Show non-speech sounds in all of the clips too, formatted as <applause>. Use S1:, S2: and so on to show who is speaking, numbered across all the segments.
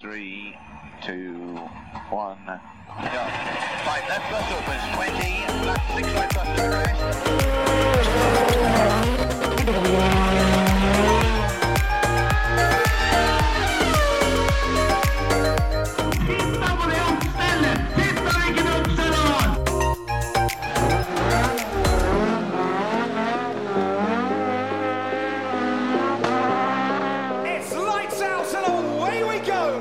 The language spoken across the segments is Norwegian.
S1: three, two, one, go. Five left bus opens, 20, left six right bus to arrest.
S2: It's lights out and away we go!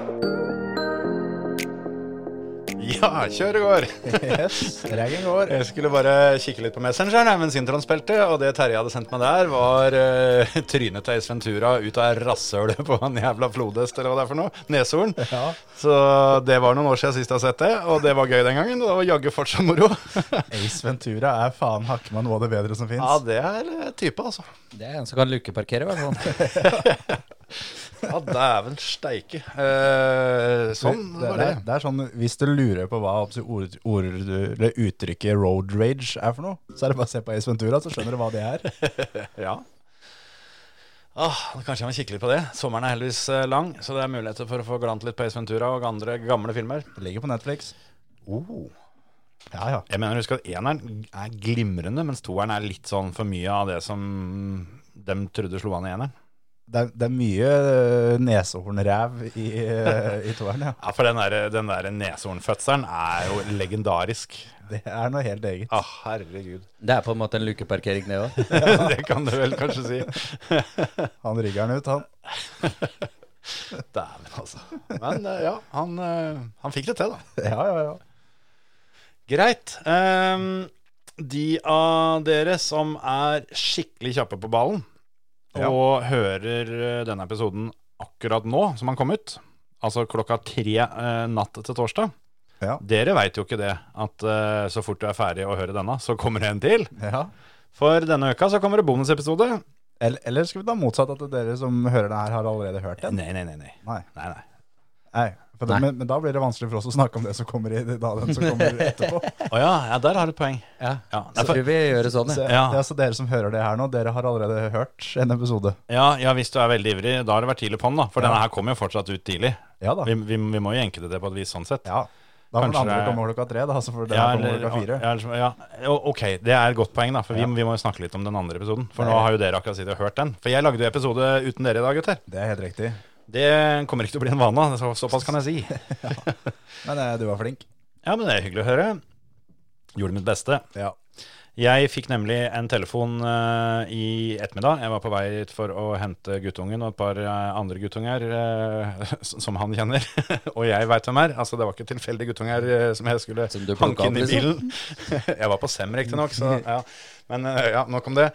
S3: Ja, kjør og går.
S4: Yes, regelen går.
S3: Jeg skulle bare kikke litt på Messengeren jeg, mens introen spilte, og det Terje hadde sendt meg der, var eh, trynet til Ace Ventura ut av rasshølet på en jævla flodhest, eller hva det er for noe. Neshorn.
S4: Ja.
S3: Så det var noen år siden sist jeg har sett det, og det var gøy den gangen. og Det var jaggu fortsatt moro.
S4: Ace Ventura er faen hakke meg noe av det bedre som fins.
S3: Ja, det er eh, type, altså.
S5: Det er en som kan lukeparkere, i hvert fall.
S3: Ja, dæven steike. Eh, sånn
S4: det,
S3: var det.
S4: det, er- det er sånn, Hvis du lurer på hva absolutt ord, ord, eller uttrykket road rage er for noe, så er det bare å se på Ace Ventura, så skjønner du hva det er.
S3: Ja. Ah, kanskje jeg må kikke litt på det. Sommeren er heldigvis eh, lang, så det er muligheter for å få glant litt på Ace Ventura og andre gamle filmer.
S4: Det ligger på Netflix.
S3: Oh.
S4: Ja, ja.
S3: Jeg mener, husk at eneren er glimrende, mens toeren er litt sånn for mye av det som de trodde slo an i eneren.
S4: Det er, det er mye øh, nesehornræv i, øh, i toeren, ja.
S3: Ja, for den der, den der neshornfødselen er jo legendarisk.
S4: Det er noe helt eget.
S3: Ah, <laughs> herregud.
S5: Det er på en måte en lukeparkering, det òg.
S3: det kan du vel kanskje si.
S4: Han rygger den ut, han.
S3: Dæven, altså. Men eh, ja, han, eh, han fikk det til, da.
S4: Ja, ja, ja.
S3: Greit. Ehm, de av dere som er skikkelig kjappe på ballen,
S4: Ja.
S3: og hører eh, denne episoden akkurat nå som han kom ut, altså klokka tre eh, natt til torsdag,
S4: Ja.
S3: dere veit jo ikke det at eh, så fort du er ferdig å høre denne, så kommer det en til.
S4: ja.
S3: For denne uka så kommer det bonusepisode.
S4: Eller, eller skal vi ta motsatt, at dere som hører det her, har allerede hørt den?
S3: Nei, nei, nei. nei.
S4: Nei.
S3: nei, nei.
S4: Nei, for da-
S3: Nei.
S4: Men, men da blir det vanskelig for oss å snakke om det som kommer i da, den som <laughs> kommer etterpå.
S3: Å ja, ja, der har du et poeng.
S5: Ja.
S3: Ja,
S5: Så
S3: for-
S5: tror vi gjør det sånn,
S4: Så,
S5: ja.
S3: Ja.
S4: ja, så dere som hører det her nå, dere har allerede hørt en episode.
S3: ja, ja, hvis du er veldig ivrig, da har det vært tidlig på'n, da. For
S4: Ja.
S3: denne her kommer jo fortsatt ut tidlig.
S4: Ja da.
S3: Vi, vi, vi må jo jenke det til på et vis, sånn sett.
S4: Ja. Da får
S3: Kanskje
S4: den andre
S3: det er-
S4: komme klokka tre, da, så får den
S3: Ja,
S4: her komme
S3: eller-
S4: klokka fire.
S3: Ja, eller- ja. O- Ok, det er et godt poeng, da. For vi, vi må jo snakke litt om den andre episoden. For nå har jo dere akkurat sittet og hørt den. For jeg lagde jo episode uten dere i dag, gutter.
S4: Det er helt riktig.
S3: Det kommer ikke til å bli en vane. Så, såpass kan jeg si.
S4: <laughs> Men eh, du var flink.
S3: Ja, men det er hyggelig å høre. Gjorde mitt beste.
S4: Ja.
S3: Jeg fikk nemlig en telefon eh, i ettermiddag. Jeg var på vei hit for å hente guttungen og et par eh, andre guttunger eh, <laughs> s- som han kjenner. og jeg veit hvem er. Altså, det var ikke tilfeldige guttunger eh, som jeg skulle
S5: Som du plukket
S3: hanke
S5: opp,
S3: inn i
S5: liksom?
S3: bilen. <laughs> jeg var på SEM
S5: <laughs>
S3: riktignok, så ja. Men eh, ja, nok om det.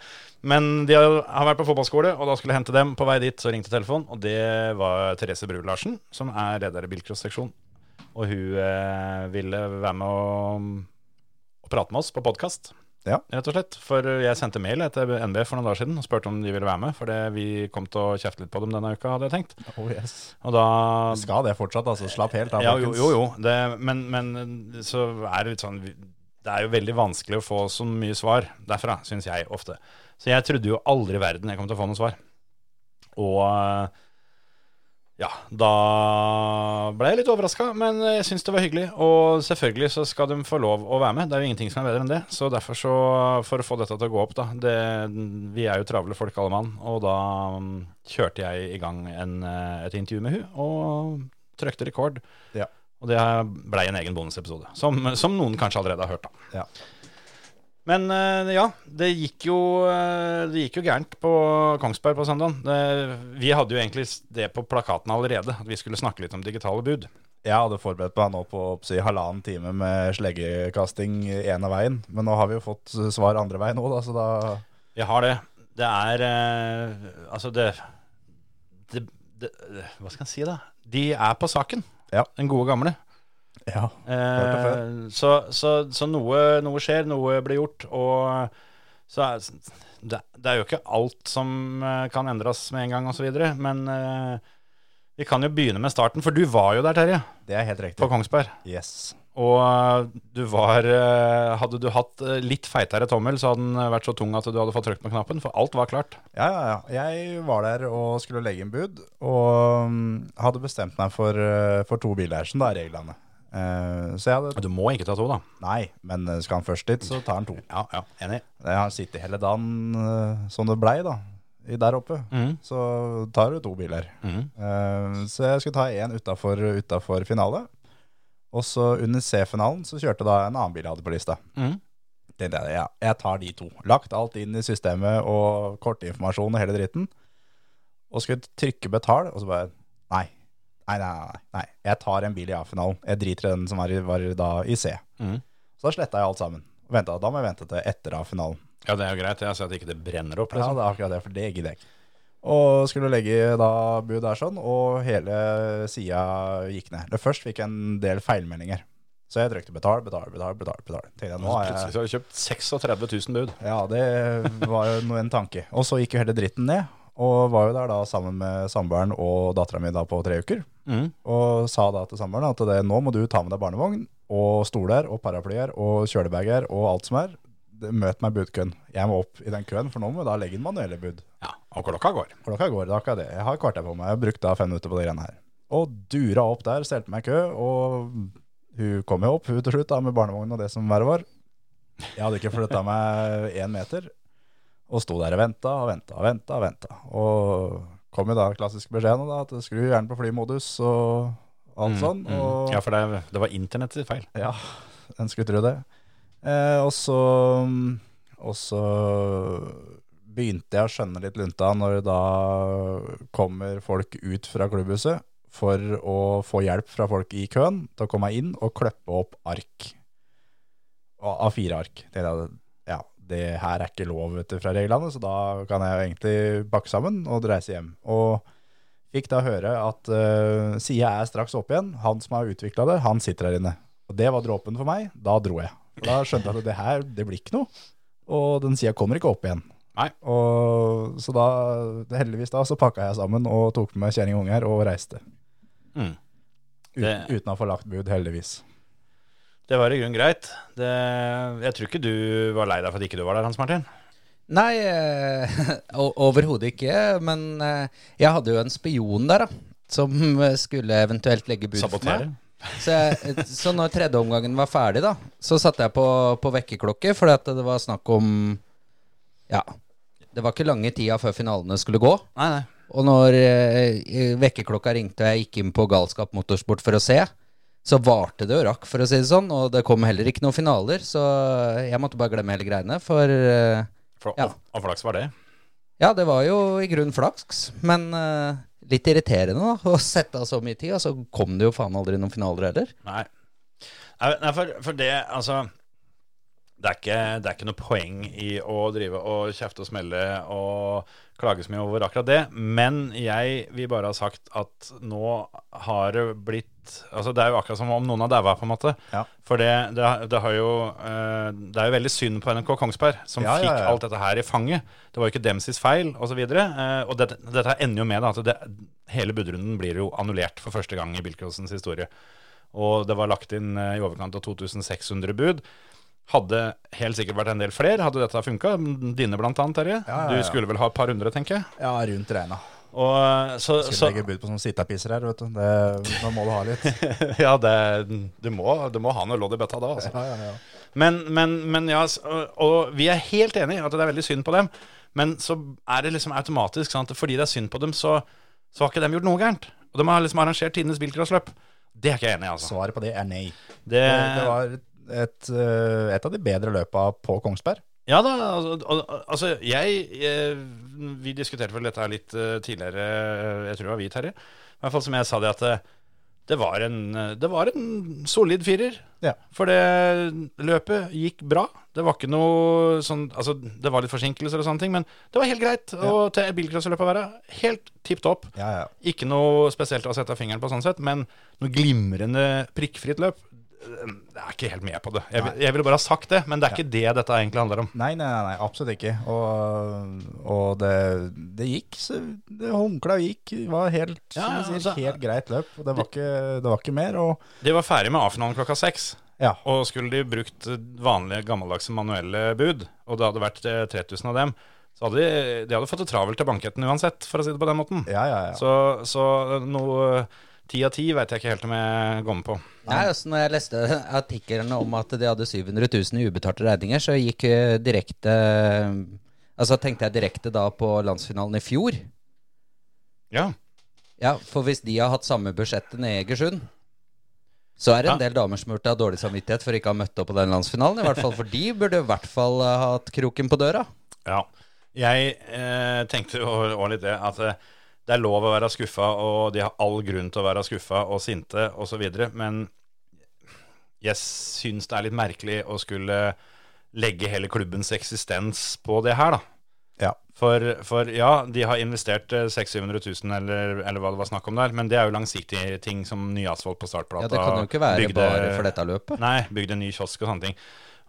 S3: Men de har har vært på fotballskole, og da skulle jeg hente dem. På vei dit så ringte telefonen, og det var Therese Bru Larsen, som er leder i bilcross-seksjonen. Og hun eh, ville være med og, og prate med oss på podkast rett og slett. For jeg sendte mail etter NB for noen dager siden og spurte om de ville være med. For det- vi kom til å kjefte litt på dem denne uka, hadde jeg tenkt.
S4: Oh yes.
S3: Og da
S4: Skal det fortsatt, altså. Slapp helt av,
S3: ja, jo, jo, jo. Det, men, men så er det litt sånn Det er jo veldig vanskelig å få så mye svar derfra, syns jeg ofte. Så jeg trodde jo aldri i verden jeg kom til å få noe svar. Og eh, ja, da ble jeg litt overraska, men jeg syns det var hyggelig. Og selvfølgelig så skal de få lov å være med, det er jo ingenting som er bedre enn det. Så derfor så, for å få dette til å gå opp, da det, Vi er jo travle folk alle mann, og da mm, kjørte jeg i gang en, eh, et intervju med hun, og trøkte rekord.
S4: Ja.
S3: Og det blei en egen bonusepisode, som, som noen kanskje allerede har hørt, da.
S4: Ja.
S3: Men eh, ja, det gikk jo, eh, det gikk jo gærent på Kongsberg på søndagen. Det- Vi hadde jo egentlig det på plakaten allerede, at vi skulle snakke litt om digitale bud.
S4: Jeg hadde forberedt meg nå på si, halvannen time med sleggekasting ene veien, men nå har vi jo fått svar andre veien òg, da, så da
S3: Vi har det. Det er eh, Altså, det, det, det Hva skal jeg si, da? De er på saken,
S4: Ja.
S3: den gode gamle.
S4: Ja.
S3: Eh, så så, så noe, noe skjer, noe blir gjort, og så er det, det er jo ikke alt som eh, kan endres med en gang, osv., men eh, Vi kan jo begynne med starten, for du var jo der, Terje,
S4: Det er helt
S3: på
S4: riktig.
S3: Kongsberg.
S4: Yes.
S3: Og eh, du var eh, Hadde du hatt eh, litt feitere tommel, så hadde den vært så tung at du hadde fått trykt på knappen, for alt var klart.
S4: Ja, ja, ja. Jeg var der og skulle legge inn bud, og mm, hadde bestemt meg for, eh, for to biler, som da er reglene. Eh, så jeg hadde
S3: Du må ikke ta to, da.
S4: Nei, men eh, skal han først dit, så tar han to.
S3: Ja, ja, enig.
S4: Jeg har sittet hele dagen eh, som det blei, da. i- Der oppe.
S3: Mhm.
S4: Så tar du to biler.
S3: Mhm.
S4: Eh, så jeg skulle ta én utafor, utafor finale. Og så under C-finalen så kjørte da en annen bil jeg hadde på lista.
S3: Mhm.
S4: Tenkte jeg ja, jeg tar de to. Lagt alt inn i systemet og kortinformasjon og hele dritten. Og skulle trykke betal, og så bare nei. Nei, nei, nei. nei. Jeg tar en bil i A-finalen. Jeg driter i den som var, i- var i da i C.
S3: Mhm.
S4: Så da sletta jeg alt sammen. Og ventet, da må jeg vente til etter A-finalen.
S3: Ja, det er jo greit, jeg ser at ikke det brenner opp.
S4: Ja,
S3: Liksom.
S4: det er akkurat det, for det gidder jeg ikke. Og skulle legge da bud der sånn, og hele sida gikk ned. Det først fikk jeg en del feilmeldinger. Så jeg trykte betal, betal, betal, betal. betal. Tenkte jeg, nå er
S3: Plutselig
S4: jeg...
S3: så har du kjøpt 36 000 bud.
S4: Ja, det var jo noe- en tanke. Og så gikk jo hele dritten ned, og var jo der da sammen med samboeren og dattera mi da på tre uker. Og sa da til samboeren at det, nå må du ta med deg barnevogn og stoler og paraplyer og kjølebager og alt som er. Møt meg i budkøen. Jeg må opp i den køen, for nå må jeg da legge inn manuelle bud.
S3: Ja, og klokka går.
S4: Klokka går, det er akkurat det. Jeg har et kvarter på meg. Jeg har brukt da fem minutter på de greiene her. Og dura opp der, stelte meg i kø, og hun kom jo opp hun til slutt da, med barnevogn og det som verre var. Jeg hadde ikke flytta meg én meter, og sto der og venta og venta og venta. Og venta. Og kom jo da klassisk beskjeden da, at skru gjerne på flymodus og alt sånn. Og
S3: Mm. Ja, for det, det var internettets feil.
S4: ja, en skulle tro det. Eh, og så mm, Og så begynte jeg å skjønne litt lunta når da kommer folk ut fra klubbhuset for å få hjelp fra folk i køen til å komme inn og kløppe opp ark. A- A4-ark. Tenkte jeg, Ja, det her er ikke lov ut fra reglene, så da kan jeg jo egentlig pakke sammen og reise hjem. Og fikk da høre at uh, sida er straks opp igjen. Han som har utvikla det, han sitter her inne. Og det var dråpen for meg. Da dro jeg. For da skjønte jeg at det her, det blir ikke noe. Og den sida kommer ikke opp igjen.
S3: Nei.
S4: Og, så da, heldigvis da, så pakka jeg sammen og tok med meg kjerring og unger og reiste.
S3: Mm.
S4: Uten,
S3: Det-
S4: uten å få lagt bud, heldigvis.
S3: Det var i grunnen greit. Det, jeg tror ikke du var lei deg for at ikke du var der, Hans Martin.
S5: Nei, eh, <laughs> o- overhodet ikke. Men eh, jeg hadde jo en spion der, da. Som eh, skulle eventuelt legge bud for
S3: Sabotere.
S5: meg. Så, jeg, så når tredje omgangen var ferdig, da, så satte jeg på, på vekkerklokke, fordi at det var snakk om Ja. Det var ikke lange tida før finalene skulle gå.
S3: Nei, nei.
S5: Og når eh, vekkerklokka ringte og jeg gikk inn på Galskap Motorsport for å se, så varte det og rakk, for å si det sånn. Og det kom heller ikke noen finaler, så jeg måtte bare glemme hele greiene. For eh,
S3: For,
S5: Ja.
S3: og, og flaks var det.
S5: ja, det var jo i grunnen flaks, men eh, litt irriterende da, <laughs> å sette av så mye tid. Og så kom det jo faen aldri noen finaler heller.
S3: Nei. Nei, nei, for, for det, altså det er, ikke, det er ikke noe poeng i å drive og kjefte og smelle og klage så mye over akkurat det, men jeg vil bare ha sagt at nå har det blitt Altså Det er jo akkurat som om noen har daua, på en måte.
S4: Ja.
S3: For det, det, det har jo eh, Det er jo veldig synd på NRK Kongsberg, som
S4: Ja, ja,
S3: fikk
S4: ja.
S3: alt dette her i fanget. Det var jo ikke Demsis feil, osv. Og, uh, og dette, dette ender jo med da, at det, hele budrunden blir jo annullert for første gang i Bilcrossens historie og det var lagt inn eh, i overkant av 2600 bud. Hadde helt sikkert vært en del flere, hadde dette funka. Dine blant annet, Terje.
S4: Ja, ja, ja.
S3: Du skulle vel ha et par hundre, tenker jeg.
S4: Ja, rundt regna.
S3: Og, eh, så,
S4: Skulle
S3: så
S4: legge bud på sånne sittapisser her, vet du. Det, nå må du ha
S3: <laughs>
S4: litt.
S3: Ja, det, du, må, du må ha noe lodd i bøtta da, altså.
S4: Ja, ja, ja.
S3: Men, men, men ja, s- og, og vi er helt enig i at det er veldig synd på dem. Men så er det liksom automatisk sant? Fordi det er synd på dem, så, så har ikke dem gjort noe gærent. Og de har liksom arrangert tidenes bilcrossløp. Det er ikke jeg enig i, altså.
S4: Svaret på det er nei.
S3: Det,
S4: Det, det var et, eh, et av de bedre løpa på Kongsberg.
S3: Ja da, altså, al- al- altså jeg, eh, Vi diskuterte vel dette her litt eh, tidligere, eh, jeg tror det var vi, Terje. I hvert fall som jeg sa det, at eh, det var en, eh, det var en solid firer.
S4: Ja.
S3: For det løpet gikk bra. Det var ikke noe sånn Altså, det var litt forsinkelser og sånne ting, men det var helt greit. Og til bilcrossløpet å være helt tipp topp.
S4: Ja, ja.
S3: Ikke noe spesielt å sette fingeren på sånn sett, men noe glimrende prikkfritt løp. Jeg er ikke helt med på det. Jeg, vil- jeg ville bare ha sagt det, men det er ikke det dette egentlig handler om.
S4: Nei, nei, nei, nei, absolutt ikke. Og, og det, det gikk, så det håndkla gikk. Det var helt,
S3: Ja, ja,
S4: som du sier,
S3: altså-
S4: helt greit løp. og Det var ikke, det var ikke mer. Og,
S3: De var ferdig med A-finalen klokka seks.
S4: ja,
S3: Og skulle de brukt vanlige, gammeldagse manuelle bud, og det hadde vært eh, 3000 av dem, så hadde de, de hadde fått det travelt til banketten uansett, for å si det på den måten.
S4: ja, ja. ja.
S3: Så, så noe ti av ti veit jeg ikke helt om jeg går med på.
S5: Nei, altså når jeg leste <laughs> artiklene om at de hadde 700 000 i ubetalte regninger, så gikk eh, direkte Altså tenkte jeg direkte da på landsfinalen i fjor.
S3: Ja.
S5: Ja, For hvis de har hatt samme budsjettet nede i Egersund, så er det en
S3: Ja.
S5: del damer som burde ha dårlig samvittighet for ikke å ha møtt opp på den landsfinalen. I hvert fall for de burde i hvert fall ha hatt kroken på døra.
S3: ja. Jeg eh, tenkte jo <laughs> også litt det, at eh, det er lov å være skuffa, og de har all grunn til å være skuffa og sinte osv., men jeg syns det er litt merkelig å skulle legge hele klubbens eksistens på det her, da.
S4: ja.
S3: For, for ja, de har investert eh, 600 000 eller, eller hva det var snakk om der, men det er jo langsiktige ting som ny asfalt på startplata.
S5: Ja, Det kan jo ikke være
S3: bygde-
S5: bare for dette løpet.
S3: Nei, bygde en ny kiosk og sånne ting.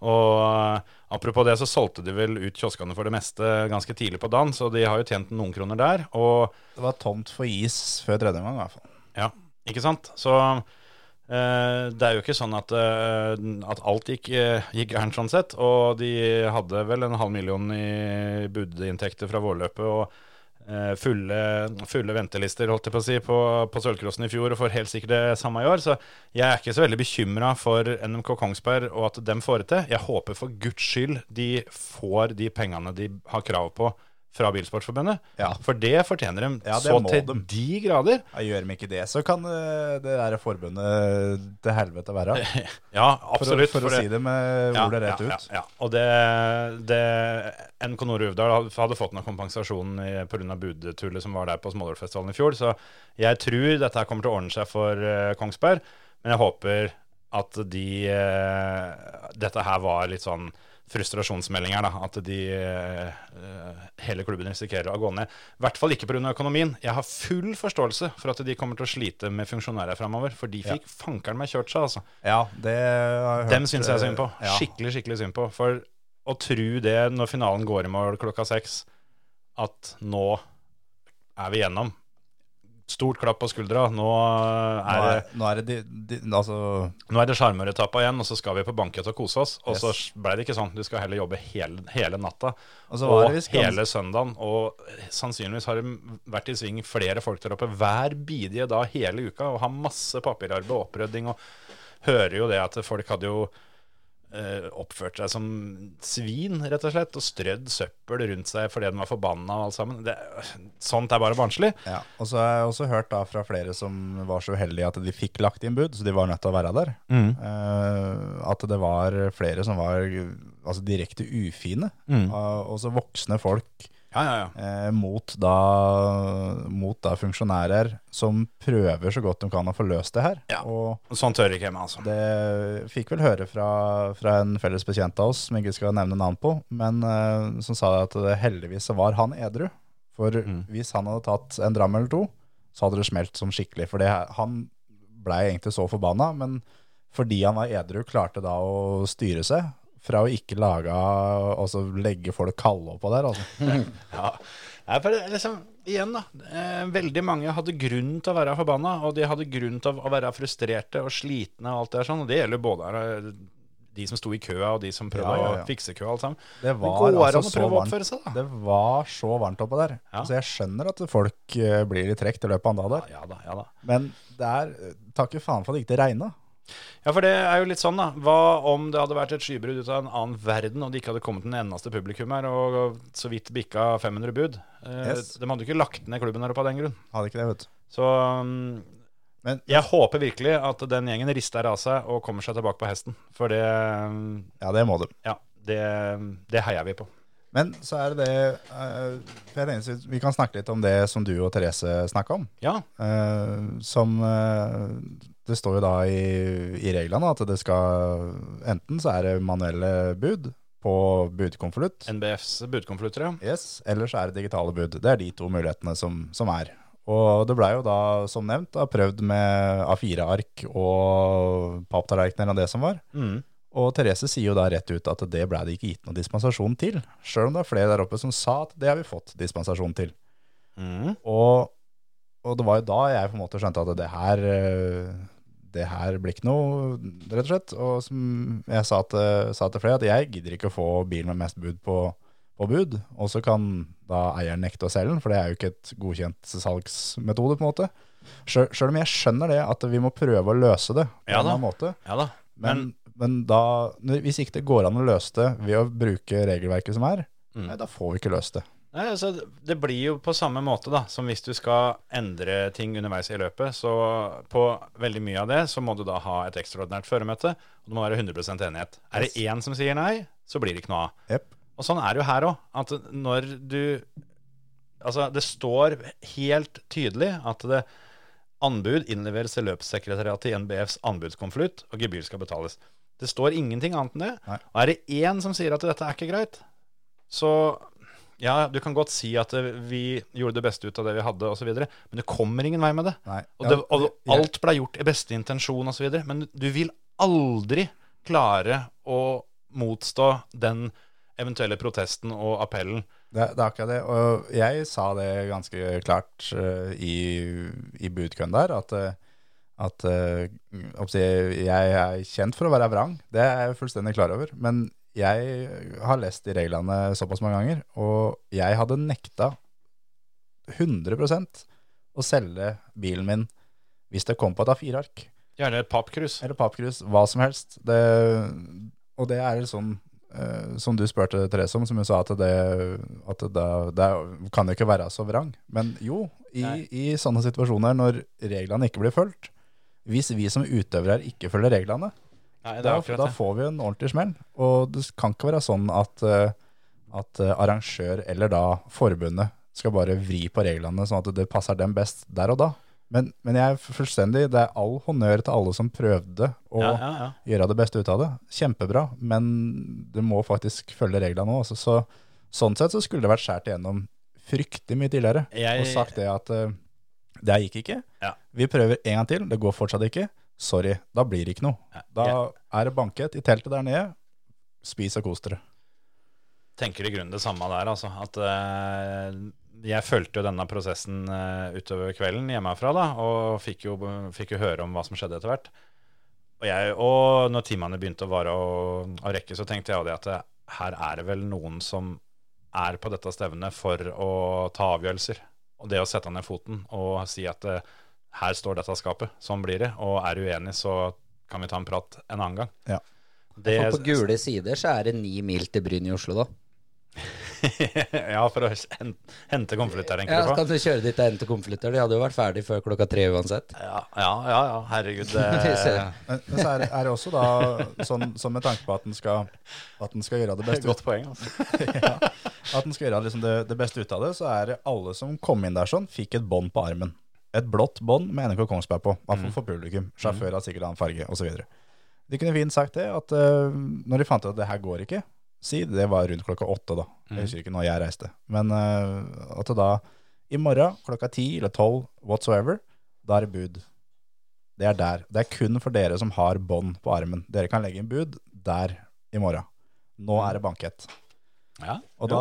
S3: Og eh, apropos det, så solgte de vel ut kioskene for det meste ganske tidlig på dagen, så de har jo tjent noen kroner der. Og
S4: Det var tomt for is før tredje gang, i hvert fall.
S3: ja, ikke sant? Så eh, det er jo ikke sånn at, eh, at alt gikk, eh, gikk gærent sånn sett. Og de hadde vel en halv million i budinntekter fra vårløpet. og eh, Fulle, fulle ventelister holdt jeg på å si på, på Sølvcrossen i fjor, og får helt sikkert det samme i år. Så jeg er ikke så veldig bekymra for NMK Kongsberg og at dem får det til. Jeg håper for guds skyld de får de pengene de har krav på fra Bilsportsforbundet.
S4: Ja.
S3: For det fortjener de
S4: Ja, det
S3: så
S4: må
S3: til
S4: dem.
S3: de grader.
S4: Ja, gjør de ikke det, så kan eh, det der forbundet til helvete være.
S3: <laughs> Ja,
S4: For,
S3: absolutt.
S4: for, å si det med ordet rett
S3: ja,
S4: ut.
S3: Ja, ja. Og det, det NK Nord-Uvdal hadde- hadde fått noe kompensasjon pga. budetullet som var der på Smålårfestivalen i fjor, så jeg tror dette her kommer til å ordne seg for eh, Kongsberg. Men jeg håper at de eh, Dette her var litt sånn frustrasjonsmelding her, da. At de eh, eh, hele klubben risikerer å gå ned. I hvert fall ikke pga. økonomien. Jeg har full forståelse for at de kommer til å slite med funksjonærer framover, for de fikk fankeren meg kjørt seg, altså.
S4: Ja, det har jeg hørt. eh,
S3: Dem syns jeg synd på.
S4: Ja.
S3: Skikkelig, skikkelig synd på. For å tro det når finalen går i mål klokka seks, at nå er vi gjennom. Stort klapp på skuldra. Nå eh,
S4: Nå
S3: er det,
S4: er, nå er det de, de, altså,
S3: nå er det sjarmøretappa igjen, og så skal vi på bankett og kose oss. Og
S4: Yes.
S3: så ble det ikke sånn. Du skal heller jobbe hele, hele natta.
S4: Og så var
S3: Og
S4: det visst gans-
S3: hele søndagen. Og sannsynligvis har det vært i sving flere folk der oppe hver bidige dag hele uka, og har masse papirarbeid og opprydding. Og hører jo det at folk hadde jo eh, oppført seg som svin, rett og slett, og strødd søppel rundt seg fordi de var forbanna og alt sammen. Det, sånt er bare barnslig.
S4: Ja, og så har jeg også hørt da fra flere som var så uheldige at de fikk lagt inn bud, så de var nødt til å være der.
S3: Mm.
S4: Eh, at det var flere som var altså, direkte ufine,
S3: Mm.
S4: og også voksne folk
S3: Ja, ja, ja.
S4: eh, mot, da, mot da funksjonærer som prøver så godt de kan å få løst det her.
S3: Ja.
S4: Og
S3: Sånn tør ikke jeg meg, altså.
S4: det fikk vel høre fra, fra en felles bekjent av oss, som jeg ikke skal nevne navn på, men eh, som sa at det heldigvis så var han edru. For
S3: Mm.
S4: hvis han hadde tatt en dram eller to, så hadde det smelt som skikkelig. For det, han ble egentlig så forbanna, men fordi han var edru, klarte da å styre seg fra å ikke lage, altså legge folk kalde oppå der. Altså.
S3: <laughs> Ja. Nei, for det- liksom, igjen da, eh, veldig mange hadde grunn til å være forbanna, og de hadde grunn til å være frustrerte og slitne og alt det der sånn, og det gjelder jo både eh, de som sto i køa og de som prøvde
S4: Ja, ja, ja.
S3: å fikse køa og alt sammen.
S4: Det
S3: går
S4: var
S3: an
S4: altså
S3: å
S4: så
S3: prøve å oppføre
S4: varmt,
S3: seg, da.
S4: det var så varmt oppå der.
S3: Ja.
S4: Så jeg skjønner at folk eh, blir litt trekt i løpet av en dag der.
S3: Ja, ja da, ja da.
S4: Men det er Takk faen for at det ikke regna.
S3: Ja, for det er jo litt sånn, da. Hva om det hadde vært et skybrudd ut av en annen verden, og det ikke hadde kommet en eneste publikum her, og og så vidt bikka 500 bud? Eh,
S4: Yes.
S3: De hadde jo ikke lagt ned klubben der oppe av den grunn.
S4: Hadde ikke det, vet du.
S3: Så um,
S4: Men-
S3: jeg håper virkelig at den gjengen rister av seg og kommer seg tilbake på hesten, for det um,
S4: Ja, det må du.
S3: Ja, det, um, det heier vi på.
S4: Men så er det det eh, for jeg tenkte, Vi kan snakke litt om det som du og Therese snakka om.
S3: Ja,
S4: eh, som eh, Det står jo da i, i reglene at det skal Enten så er det manuelle bud på budkonvolutt,
S3: NBFs budkonvolutter, ja.
S4: yes, eller så er det digitale bud. Det er de to mulighetene som, som er. Og det blei jo da, som nevnt, da, prøvd med A4-ark og papptallerkener og det som var.
S3: Mm.
S4: Og Therese sier jo da rett ut at det blei det ikke gitt noen dispensasjon til, sjøl om det er flere der oppe som sa at det har vi fått dispensasjon til.
S3: Mm.
S4: Og, og det var jo da jeg på en måte skjønte at det her eh, Det her blir ikke noe, rett og slett. Og som jeg sa til, sa til flere, at jeg gidder ikke å få bil med mest bud på, på bud. Og så kan da eieren nekte å selge den, for det er jo ikke et godkjent salgsmetode, på en måte. Sjøl sjøl om jeg skjønner det, at vi må prøve å løse det på
S3: Ja da.
S4: en eller annen måte.
S3: Ja da.
S4: Men, men da, hvis ikke det går an å løse det ved å bruke regelverket som er,
S3: Mm.
S4: nei, da får vi ikke løst det.
S3: Nei, altså, det blir jo på samme måte da, som hvis du skal endre ting underveis i løpet. Så på veldig mye av det så må du da ha et ekstraordinært føremøte, og det må være 100 enighet. Er det én som sier nei, så blir det ikke noe av.
S4: Jepp.
S3: Og sånn er det jo her òg. At når du Altså, det står helt tydelig at det anbud innleveres til løpssekretariatet i NBFs anbudskonvolutt, og gebyr skal betales. Det står ingenting annet enn det.
S4: Nei.
S3: Og er det én som sier at dette er ikke greit, så ja, du kan godt si at eh, vi gjorde det beste ut av det vi hadde, osv., men du kommer ingen vei med det.
S4: Nei.
S3: Og, det, og
S4: Ja, jeg-
S3: alt ble gjort i beste intensjon osv. Men du vil aldri klare å motstå den eventuelle protesten og appellen.
S4: Det, det er akkurat det. Og jeg sa det ganske klart eh, i, i budkøen der, at, eh, at eh, hva skal jeg, si, jeg er kjent for å være vrang. Det er jeg fullstendig klar over. Men jeg har lest de reglene såpass mange ganger, og jeg hadde nekta 100 å selge bilen min hvis det kom på et A4-ark
S3: Gjerne et pappkrus.
S4: eller pappkrus, hva som helst. Det, og det er sånn eh, som du spurte Therese om, som hun sa at det, at det, det kan jo ikke være så vrang. Men jo, i,
S3: Nei.
S4: i sånne situasjoner når reglene ikke blir fulgt, hvis vi som utøvere her ikke følger reglene,
S3: Nei, det
S4: da,
S3: er akkurat
S4: da
S3: det.
S4: får vi en ordentlig smell. Og det kan ikke være sånn at, eh, at eh, arrangør eller da forbundet skal bare vri på reglene sånn at det passer dem best der og da. Men, men jeg er fullstendig, det er all honnør til alle som prøvde å
S3: Ja, ja, ja.
S4: gjøre det beste ut av det. Kjempebra, men du må faktisk følge reglene nå. Altså. Så, sånn sett så skulle det vært skjært igjennom fryktelig mye tidligere.
S3: Jeg-
S4: Og sagt det at eh, det her gikk ikke.
S3: Ja.
S4: Vi prøver en gang til, det går fortsatt ikke. Sorry, da blir det ikke noe. Da er det banket i teltet der nede. Spis og kos dere.
S3: tenker i grunnen det samme der, altså. At eh, jeg fulgte jo denne prosessen eh, utover kvelden hjemmefra, da, og fikk jo, fikk jo høre om hva som skjedde etter hvert. Og, jeg, og når timene begynte å vare og, og rekke, så tenkte jeg jo det at eh, her er det vel noen som er på dette stevnet for å ta avgjørelser. Og det å sette ned foten og si at eh, her står dette skapet, sånn blir det. Og er du uenig, så kan vi ta en prat en annen gang.
S4: Ja.
S3: Det,
S5: For på gule sider så er det ni mil til Bryn i Oslo, da.
S3: <laughs> ja, for å hen- hente konvolutt her,
S5: Ja,
S3: tenker
S5: så
S3: du på?
S5: kan du kjøre dit og hente konvolutter? De hadde jo vært ferdig før klokka tre uansett.
S3: Ja, ja, ja, ja herregud.
S5: <laughs> Du ser.
S3: Det,
S4: Men, men så er, det- er det også da sånn, sånn med tanke på at den skal, at den skal gjøre det beste ut
S3: godt poeng, altså.
S4: <laughs> ja. At den skal gjøre liksom det, det beste ut av det, så er det alle som kom inn der sånn, fikk et bånd på armen. Et blått bånd med NRK Kongsberg på, i hvert fall for publikum. Sjåfør har sikkert annen farge, osv. De kunne fint sagt det, at eh, når de fant ut at det her går ikke, si det var rundt klokka åtte, da. Jeg husker ikke når jeg reiste. Men eh, at det da i morgen klokka ti eller tolv, whatsoever, da er det bud. Det er der. Det er kun for dere som har bånd på armen. Dere kan legge inn bud der i morgen. Nå er det bankett.
S3: Ja.
S4: Og da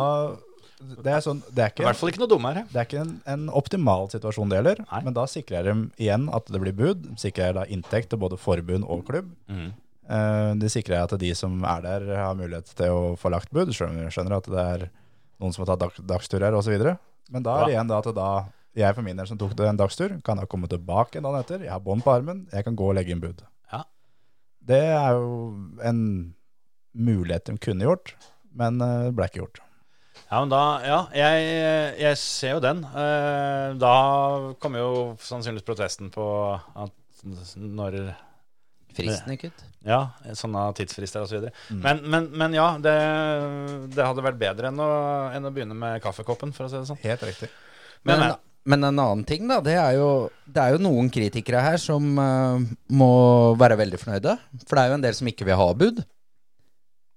S4: Det er sånn Det er
S3: I
S4: ikke,
S3: hvert fall ikke noe dummere.
S4: det er ikke en, en optimal situasjon det gjelder,
S3: Nei.
S4: men da sikrer de igjen at det blir bud. De sikrer da inntekt til både forbund og klubb.
S5: Mm.
S4: Eh, De sikrer at de som er der, har mulighet til å få lagt bud. Selv om jeg skjønner at det er noen som har tatt dag, dagstur her, osv. Men da er det igjen da at da jeg for min del som tok det en dagstur, kan da komme tilbake en dag etter. Jeg har bånd på armen, jeg kan gå og legge inn bud.
S3: Ja.
S4: Det er jo en mulighet de kunne gjort, men eh, det ble ikke gjort.
S3: Ja, men da, ja, jeg, jeg ser jo den. Eh, Da kommer jo sannsynligvis protesten på at når
S5: Fristen gikk ut.
S3: Ja, sånne tidsfrister og så videre.
S5: Mm.
S3: Men, men, men ja, det, det hadde vært bedre enn å, enn å begynne med kaffekoppen, for å si det sånn.
S4: Helt riktig.
S3: Men,
S5: Men, men en annen ting, da. Det er jo, det er jo noen kritikere her som eh, må være veldig fornøyde. For det er jo en del som ikke vil ha bud.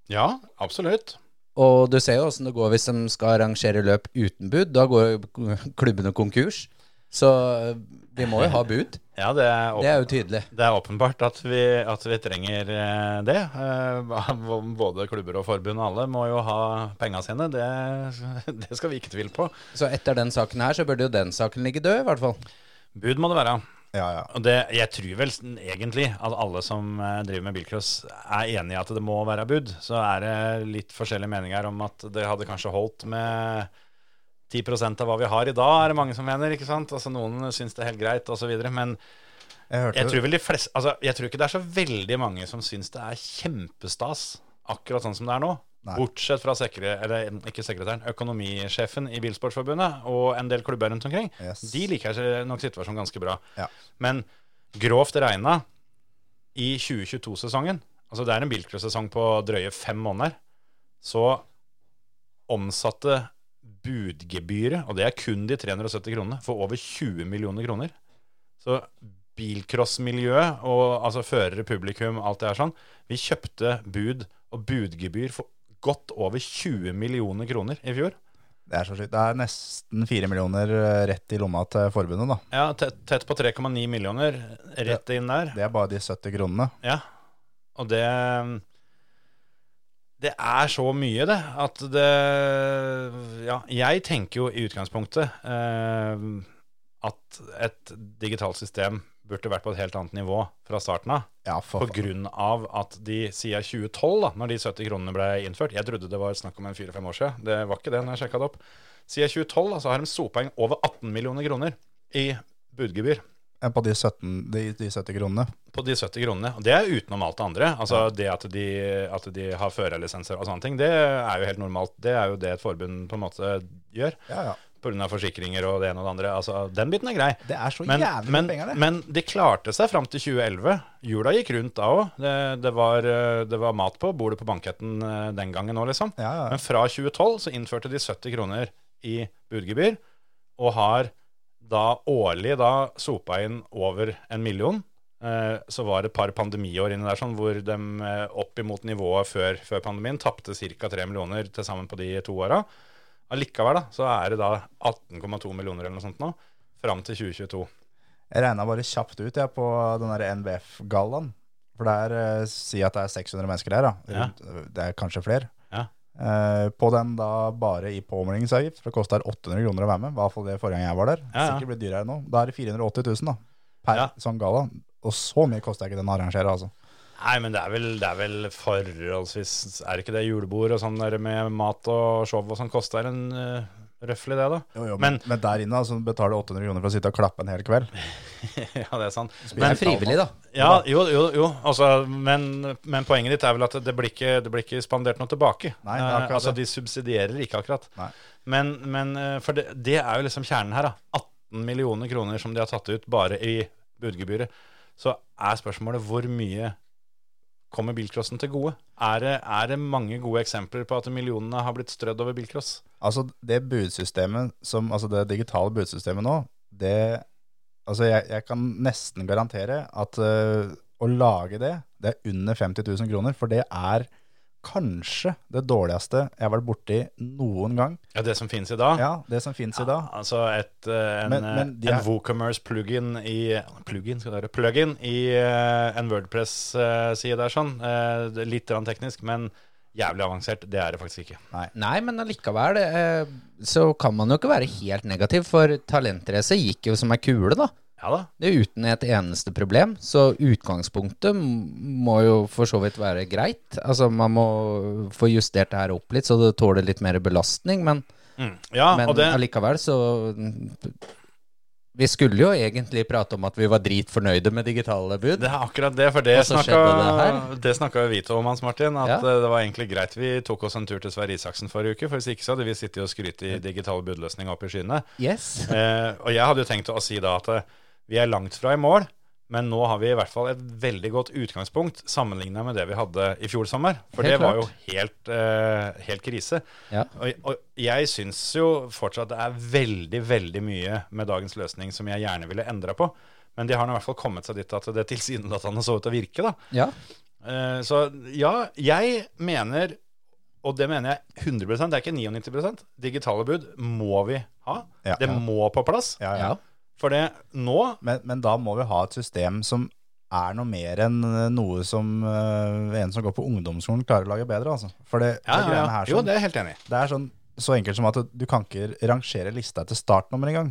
S3: ja, absolutt.
S5: Og du ser jo åssen det går hvis de skal arrangere løp uten bud. Da går jo klubbene konkurs. Så eh, vi må jo ha bud.
S3: Ja, det er, åpen,
S5: Det er jo tydelig.
S3: det er åpenbart at vi, at vi trenger eh, det. Eh, <laughs> hva- Både klubber og forbund og alle må jo ha penga sine. Det, det <laughs> skal vi ikke tvile på.
S5: Så etter den saken her, så burde jo den saken ligge død, i hvert fall.
S3: Bud må det være.
S4: Ja, ja.
S3: Og det, jeg tror vel sn- egentlig at alle som eh, driver med bilcross er enig i at det må være bud. Så er det litt forskjellige meninger om at det hadde kanskje holdt med 10 av hva vi har i dag, er det mange som mener. ikke sant? Altså Noen syns det er helt greit osv. Men
S4: Jeg hørte
S3: jeg tror vel de fleste, altså, jeg tror ikke det er så veldig mange som syns det er kjempestas akkurat sånn som det er nå.
S4: Nei.
S3: Bortsett fra sekre, eller, ikke sekretæren, økonomisjefen i Bilsportsforbundet og en del klubber rundt omkring.
S4: Yes.
S3: De liker seg nok situasjonen ganske bra.
S4: Ja.
S3: Men grovt regna i 2022-sesongen, altså det er en bilcross-sesong på drøye fem måneder, så omsatte budgebyret, og det er kun de 370 kronene, for over 20 millioner kroner. Så bilcrossmiljøet og altså førere, publikum, alt det her sånn, vi kjøpte bud og budgebyr for godt over 20 millioner kroner i fjor.
S4: Det er så sykt. Det er nesten fire millioner eh, rett i lomma til forbundet, da.
S3: Ja, tett, tett på 3,9 millioner, rett inn der.
S4: Det er bare de 70 kronene.
S3: Ja, og det Det er så mye, det, at det Ja, jeg tenker jo i utgangspunktet eh, at et digitalt system burde vært på et helt annet nivå fra starten av.
S4: Ja,
S3: På
S4: for
S3: grunn av at de siden 2012, da, når de 70 kronene ble innført Jeg trodde det var snakk om en 4-5 år siden. Det var ikke det når jeg sjekka det opp. Siden 2012 da, så altså har de sopa inn over 18 millioner kroner i budgebyr
S4: faen. Eh, På de 17, de, de 70 kronene.
S3: på de 70 kronene. Og det er utenom alt det andre. Altså det at de, at de har førerlisenser og sånne ting, det er jo helt normalt. Det er jo det et forbund på en måte gjør.
S4: Ja, ja.
S3: Pga. forsikringer og det ene og det andre. Altså den biten er grei.
S4: Det er så
S3: Men,
S4: jævlig
S3: men,
S4: mye penger, det.
S3: men de klarte seg fram til 2011. Jula gikk rundt da òg. Det, det, var, eh, det var mat på bordet på banketten eh, den gangen òg, liksom.
S4: Ja, ja, ja.
S3: Men fra 2012 så innførte de 70 kroner i budgebyr, og har da årlig da sopa inn over en million. Eh, Så var det et par pandemiår inni der sånn, hvor de eh, opp imot nivået før, før pandemien tapte ca. 3 millioner til sammen på de to åra. Allikevel da, så er det da 18,2 millioner eller noe sånt nå, fram til 2022.
S4: Jeg regna bare kjapt ut jeg, på den der NBF-gallaen. For der eh, si at det er 600 mennesker der, da.
S3: Ja.
S4: Rundt- Det er kanskje flere.
S3: Ja.
S4: Eh, på den da bare i påmeldingsavgift, for det koster 800 kroner å være med. I hvert fall det forrige gang jeg var der.
S3: Ja, ja.
S4: Sikkert blir dyrere nå. Da er det 480 000 da, per
S3: Ja.
S4: sånn galla. Og så mye koster ikke den å arrangere, altså.
S3: Nei, men det er vel, det er vel forholdsvis Er det ikke det julebord og sånn der med mat og show og sånn koster en uh, røffelig det, da?
S4: Jo, jo, men,
S3: Men-
S4: men, der inne altså, betaler du 800 kroner for å sitte og klappe en hel kveld.
S3: <laughs> ja, det er sant.
S5: Men frivillig, da.
S3: Ja, jo, jo, jo. Altså, men, men poenget ditt er vel at det blir ikke, det blir ikke spandert noe tilbake.
S4: Nei, det er
S3: Eh,
S4: akkurat
S3: altså,
S4: det.
S3: de subsidierer ikke akkurat.
S4: Nei.
S3: Men, men eh, for det, det er jo liksom kjernen her, da. 18 millioner kroner som de har tatt ut bare i budgebyret. Så er spørsmålet hvor mye kommer bilcrossen til gode? Er det, er det mange gode eksempler på at millionene har blitt strødd over bilcross?
S4: Altså det budsystemet som, altså det digitale budsystemet nå, det Altså jeg, jeg kan nesten garantere at øh, å lage det, det er under 50 000 kroner. For det er kanskje det dårligste jeg har vært borti noen gang.
S3: Ja, det som finnes i dag?
S4: Ja, det som fins i dag.
S3: Altså et, eh, en,
S4: Men- men de
S3: en
S4: er-
S3: WooCommerce plugin i plugin, skal det være, plugin i eh, en Wordpress-side der sånn. Eh, det er Litt grann teknisk, men jævlig avansert. Det er det faktisk ikke.
S5: Nei, men allikevel eh, så kan man jo ikke være helt negativ, for talentrace gikk jo som ei kule, da.
S3: Ja da.
S5: Det er uten et eneste problem, så utgangspunktet m- må jo for så vidt være greit. Altså, man må få justert det her opp litt, så det tåler litt mer belastning, men,
S3: Mm. Ja,
S5: men
S3: Ah, og det,
S5: allikevel så Vi skulle jo egentlig prate om at vi var dritfornøyde med digitale bud.
S3: det er akkurat det, for det
S5: Og så
S3: snakka,
S5: skjedde
S3: det snakka jo vi to om, Hans Martin. At
S5: Ja.
S3: eh, det var egentlig greit vi tok oss en tur til Sverre Isaksen forrige uke. For hvis ikke så hadde vi sittet og skrytt
S5: Mm.
S3: i digital budløsning opp i skyene.
S5: Yes.
S3: Eh, og jeg hadde jo tenkt å si da at eh, vi er langt fra i mål, men nå har vi i hvert fall et veldig godt utgangspunkt sammenligna med det vi hadde i fjor sommer. For
S5: Helt
S3: det var
S5: klart.
S3: jo helt, eh, helt krise.
S5: Ja.
S3: Og, og jeg syns jo fortsatt det er veldig, veldig mye med dagens løsning som jeg gjerne ville endra på. Men de har nå i hvert fall kommet seg dit at det tilsynelatende så ut til å virke, da.
S5: Ja.
S3: Eh, Så ja, jeg mener, og det mener jeg 100 det er ikke 99 digitale bud må vi ha.
S4: Ja.
S3: det må på plass.
S4: Ja, ja.
S5: Ja.
S3: For det nå
S4: Men, men da må vi ha et system som er noe mer enn noe som eh, en som går på ungdomsskolen klarer å lage bedre. Altså. For det,
S3: ja,
S4: det
S3: ja,
S4: greiene
S3: ja.
S4: her
S3: Jo,
S4: sånn,
S3: det er jeg helt enig i.
S4: det er sånn så enkelt som at du kan ikke rangere lista etter startnummer engang.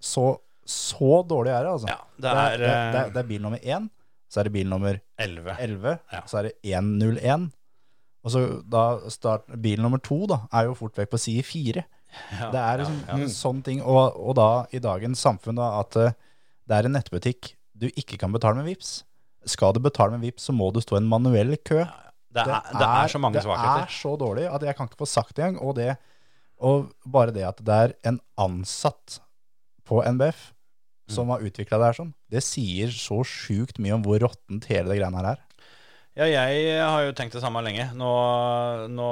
S4: Så, så dårlig er det, altså.
S3: Ja, det er, eh,
S4: det, er, det, er, det er bil nummer én, så er det bil nummer
S3: 11.
S4: 11,
S3: Ja.
S4: så er det 101. Og så da start, bil nummer to da, er jo fort vekk på side fire. det er liksom en sånn ting, og, og da i dagens samfunn da, at eh, det er en nettbutikk du ikke kan betale med VIPs. Skal du betale med VIPs, så må du stå i en manuell kø.
S3: Det er, det er så mange
S4: det
S3: svakheter.
S4: er så dårlig at jeg kan ikke få sagt det engang. Og, det- og bare det at det er en ansatt på NBF som
S3: Mm.
S4: har utvikla det her sånn, det sier så sjukt mye om hvor råttent hele det greiene her er.
S3: Ja, jeg har jo tenkt det samme lenge. Nå, nå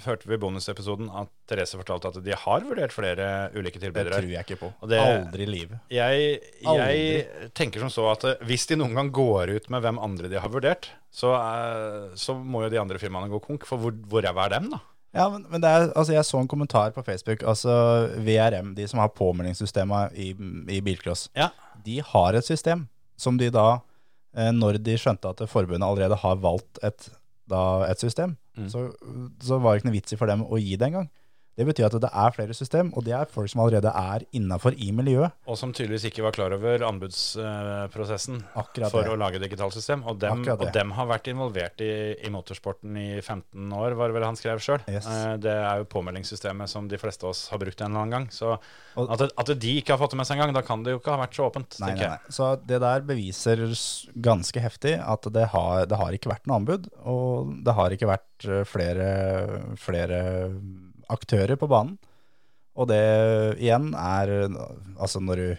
S3: hørte vi i bonusepisoden at Therese fortalte at de har vurdert flere ulike
S4: Det
S3: tilbydere.
S4: tror jeg ikke på.
S3: Og det-
S4: Aldri i livet.
S3: Jeg, jeg
S4: Aldri.
S3: tenker som så at eh, hvis de noen gang går ut med hvem andre de har vurdert, så, eh, så må jo de andre firmaene gå konk, for hvor, hvor ræva er dem, da?
S4: Ja, men, men det er, altså jeg så en kommentar på Facebook. Altså VRM, de som har påmeldingssystemet i, i bilcross,
S3: Ja.
S4: de har et system som de da, eh, når de skjønte at forbundet allerede har valgt et, da, et system, så, så var det ikke noe vits i for dem å gi det engang. Det betyr at det er flere system, og det er folk som allerede er innafor i miljøet.
S3: Og som tydeligvis ikke var klar over anbudsprosessen eh,
S4: Akkurat
S3: for
S4: det.
S3: å lage digitalt system. Og dem,
S4: Akkurat det.
S3: og dem har vært involvert i, i motorsporten i 15 år, var det vel han skrev sjøl.
S4: Yes.
S3: Det er jo påmeldingssystemet som de fleste av oss har brukt en eller annen gang. Så
S4: Og-
S3: at, at de ikke har fått det med seg engang, da kan det jo ikke ha vært så åpent.
S4: Nei,
S3: tenker
S4: nei, nei. Så det der beviser s- ganske heftig at det har, det har ikke vært noe anbud, og det har ikke vært eh, flere, flere aktører på banen. Og det igjen er eh, Altså når du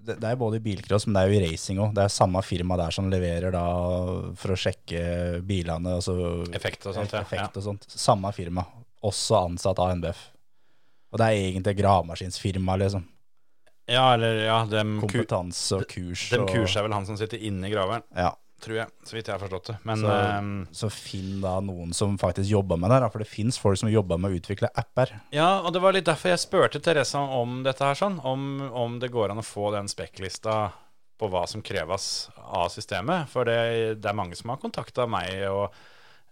S4: det, det er både i bilcross, men det er jo i racing òg. Det er samme firma der som leverer da for å sjekke bilene. Altså,
S3: Effekt og sånt, ja.
S4: effekt og sånt. Samme firma. Også ansatt av NBF. Og det er egentlig gravemaskinsfirma, liksom.
S3: jeg. Ja, eller ja, dem, ku,
S4: Kompetanse og kurs.
S3: dem
S4: og-
S3: kurset er vel han som sitter inni graveren,
S4: Ja.
S3: tror jeg. Så vidt jeg har forstått det. Men
S4: Så,
S3: ehm,
S4: så finn da noen som faktisk jobber med det, her, da, for det fins folk som jobber med å utvikle apper.
S3: Ja, og det var litt derfor jeg spurte Teresa om dette her sånn, om, om det går an å få den spekklista på hva som kreves av systemet, for det, det er mange som har kontakta meg, og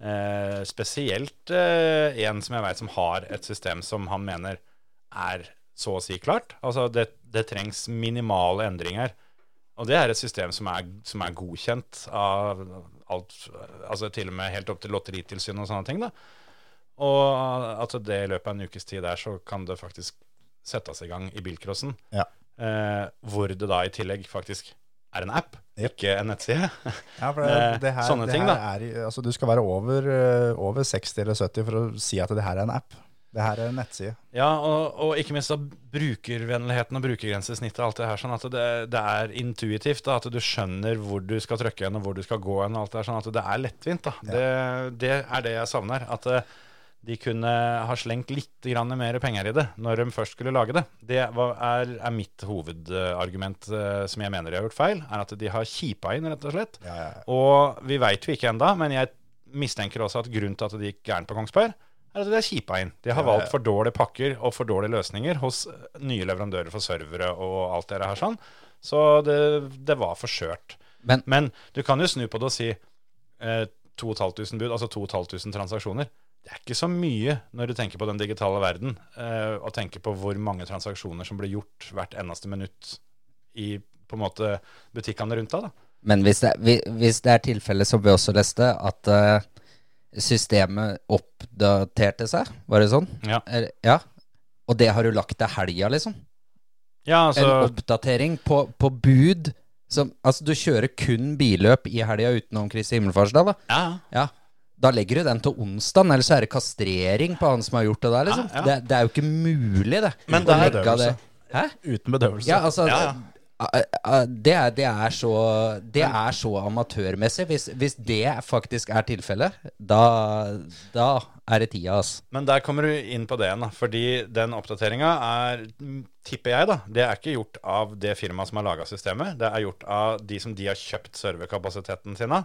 S3: eh, spesielt eh, en som jeg veit som har et system som han mener er så å si klart. Altså, det, det trengs minimale endringer. Og det er et system som er, som er godkjent av alt, altså til og med helt opp til Lotteritilsynet og sånne ting, da. Og at det i løpet av en ukes tid der, så kan det faktisk settes i gang i bilcrossen.
S4: Ja.
S3: Eh, hvor det da i tillegg faktisk er en app,
S4: Yep.
S3: ikke en nettside. <laughs>
S4: for
S3: Eh, sånne ting, da.
S4: er i- altså, du skal være over, eh, over 60 eller 70 for å si at det her er en app. Det her er en nettside.
S3: Ja, og, og ikke minst da brukervennligheten og brukergrensesnittet og alt det her, sånn at det, det er intuitivt, da, at du skjønner hvor du skal trykke hen og hvor du skal gå hen, og alt det her, sånn at det er lettvint, da. Det, det er det jeg savner, at eh, de kunne ha slengt litt grann mer penger i det når de først skulle lage det. Det var, er, er mitt hovedargument eh, som jeg mener de har gjort feil, er at de har kjipa inn, rett og slett.
S4: Ja, ja, ja.
S3: Og vi veit jo ikke enda, men jeg mistenker også at grunnen til at det gikk gærent på Kongsberg, er at de er kjipa inn. De har valgt for dårlige pakker og for dårlige løsninger hos eh, nye leverandører for servere og alt det her sånn. Så det, det var for skjørt.
S5: Men-
S3: du kan jo snu på det og si eh, 2500 bud, altså 2500 transaksjoner. Det er ikke så mye når du tenker på den digitale verden, eh, og tenker på hvor mange transaksjoner som blir gjort hvert eneste minutt i på en måte butikkene rundt deg. da.
S5: Men hvis det, hvi- hvis det er tilfellet som vi også leste, at eh, systemet oppdaterte seg, var det sånn?
S3: Ja.
S5: Er, ja. Og det har du lagt til helga, liksom?
S3: Ja,
S5: En oppdatering på, på bud som Altså, du kjører kun billøp i helga utenom Kristi himmelfartsdag, da.
S3: ja.
S5: Ja. Da legger du den til onsdag, ellers er det kastrering på han som har gjort det der, liksom.
S3: Ja, ja.
S5: Det, det er jo ikke mulig, det.
S3: Men
S5: å
S3: det er-
S5: legge av det. Hæ?
S4: Uten bedøvelse.
S5: Ja, altså
S3: Ja, ja.
S5: a- a- Det, er, det, er så, det er så amatørmessig. Hvis, hvis det faktisk er tilfellet, da, da er det tida, ass.
S3: Men der kommer du inn på det igjen, da. Fordi den oppdateringa er, mm, tipper jeg, da Det er ikke gjort av det firmaet som har laga systemet. Det er gjort av de som de har kjøpt serverkapasiteten sin av.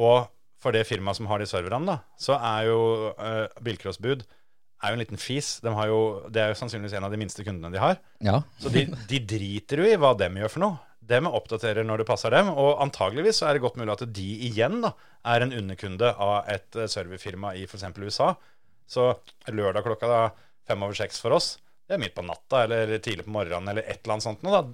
S3: Og for det firmaet som har de serverne, da, så er jo eh, bilcrossbud er jo en liten fis. De har jo, det er jo sannsynligvis en av de minste kundene de har.
S5: Ja.
S3: Så de, de driter jo i hva dem gjør for noe. Dem oppdaterer når det passer dem, og antageligvis så er det godt mulig at de igjen da, er en underkunde av et eh, serverfirma i f.eks. USA. Så lørdag klokka da, fem over seks for oss, det er midt på natta eller tidlig på morgenen eller et eller annet sånt noe, da.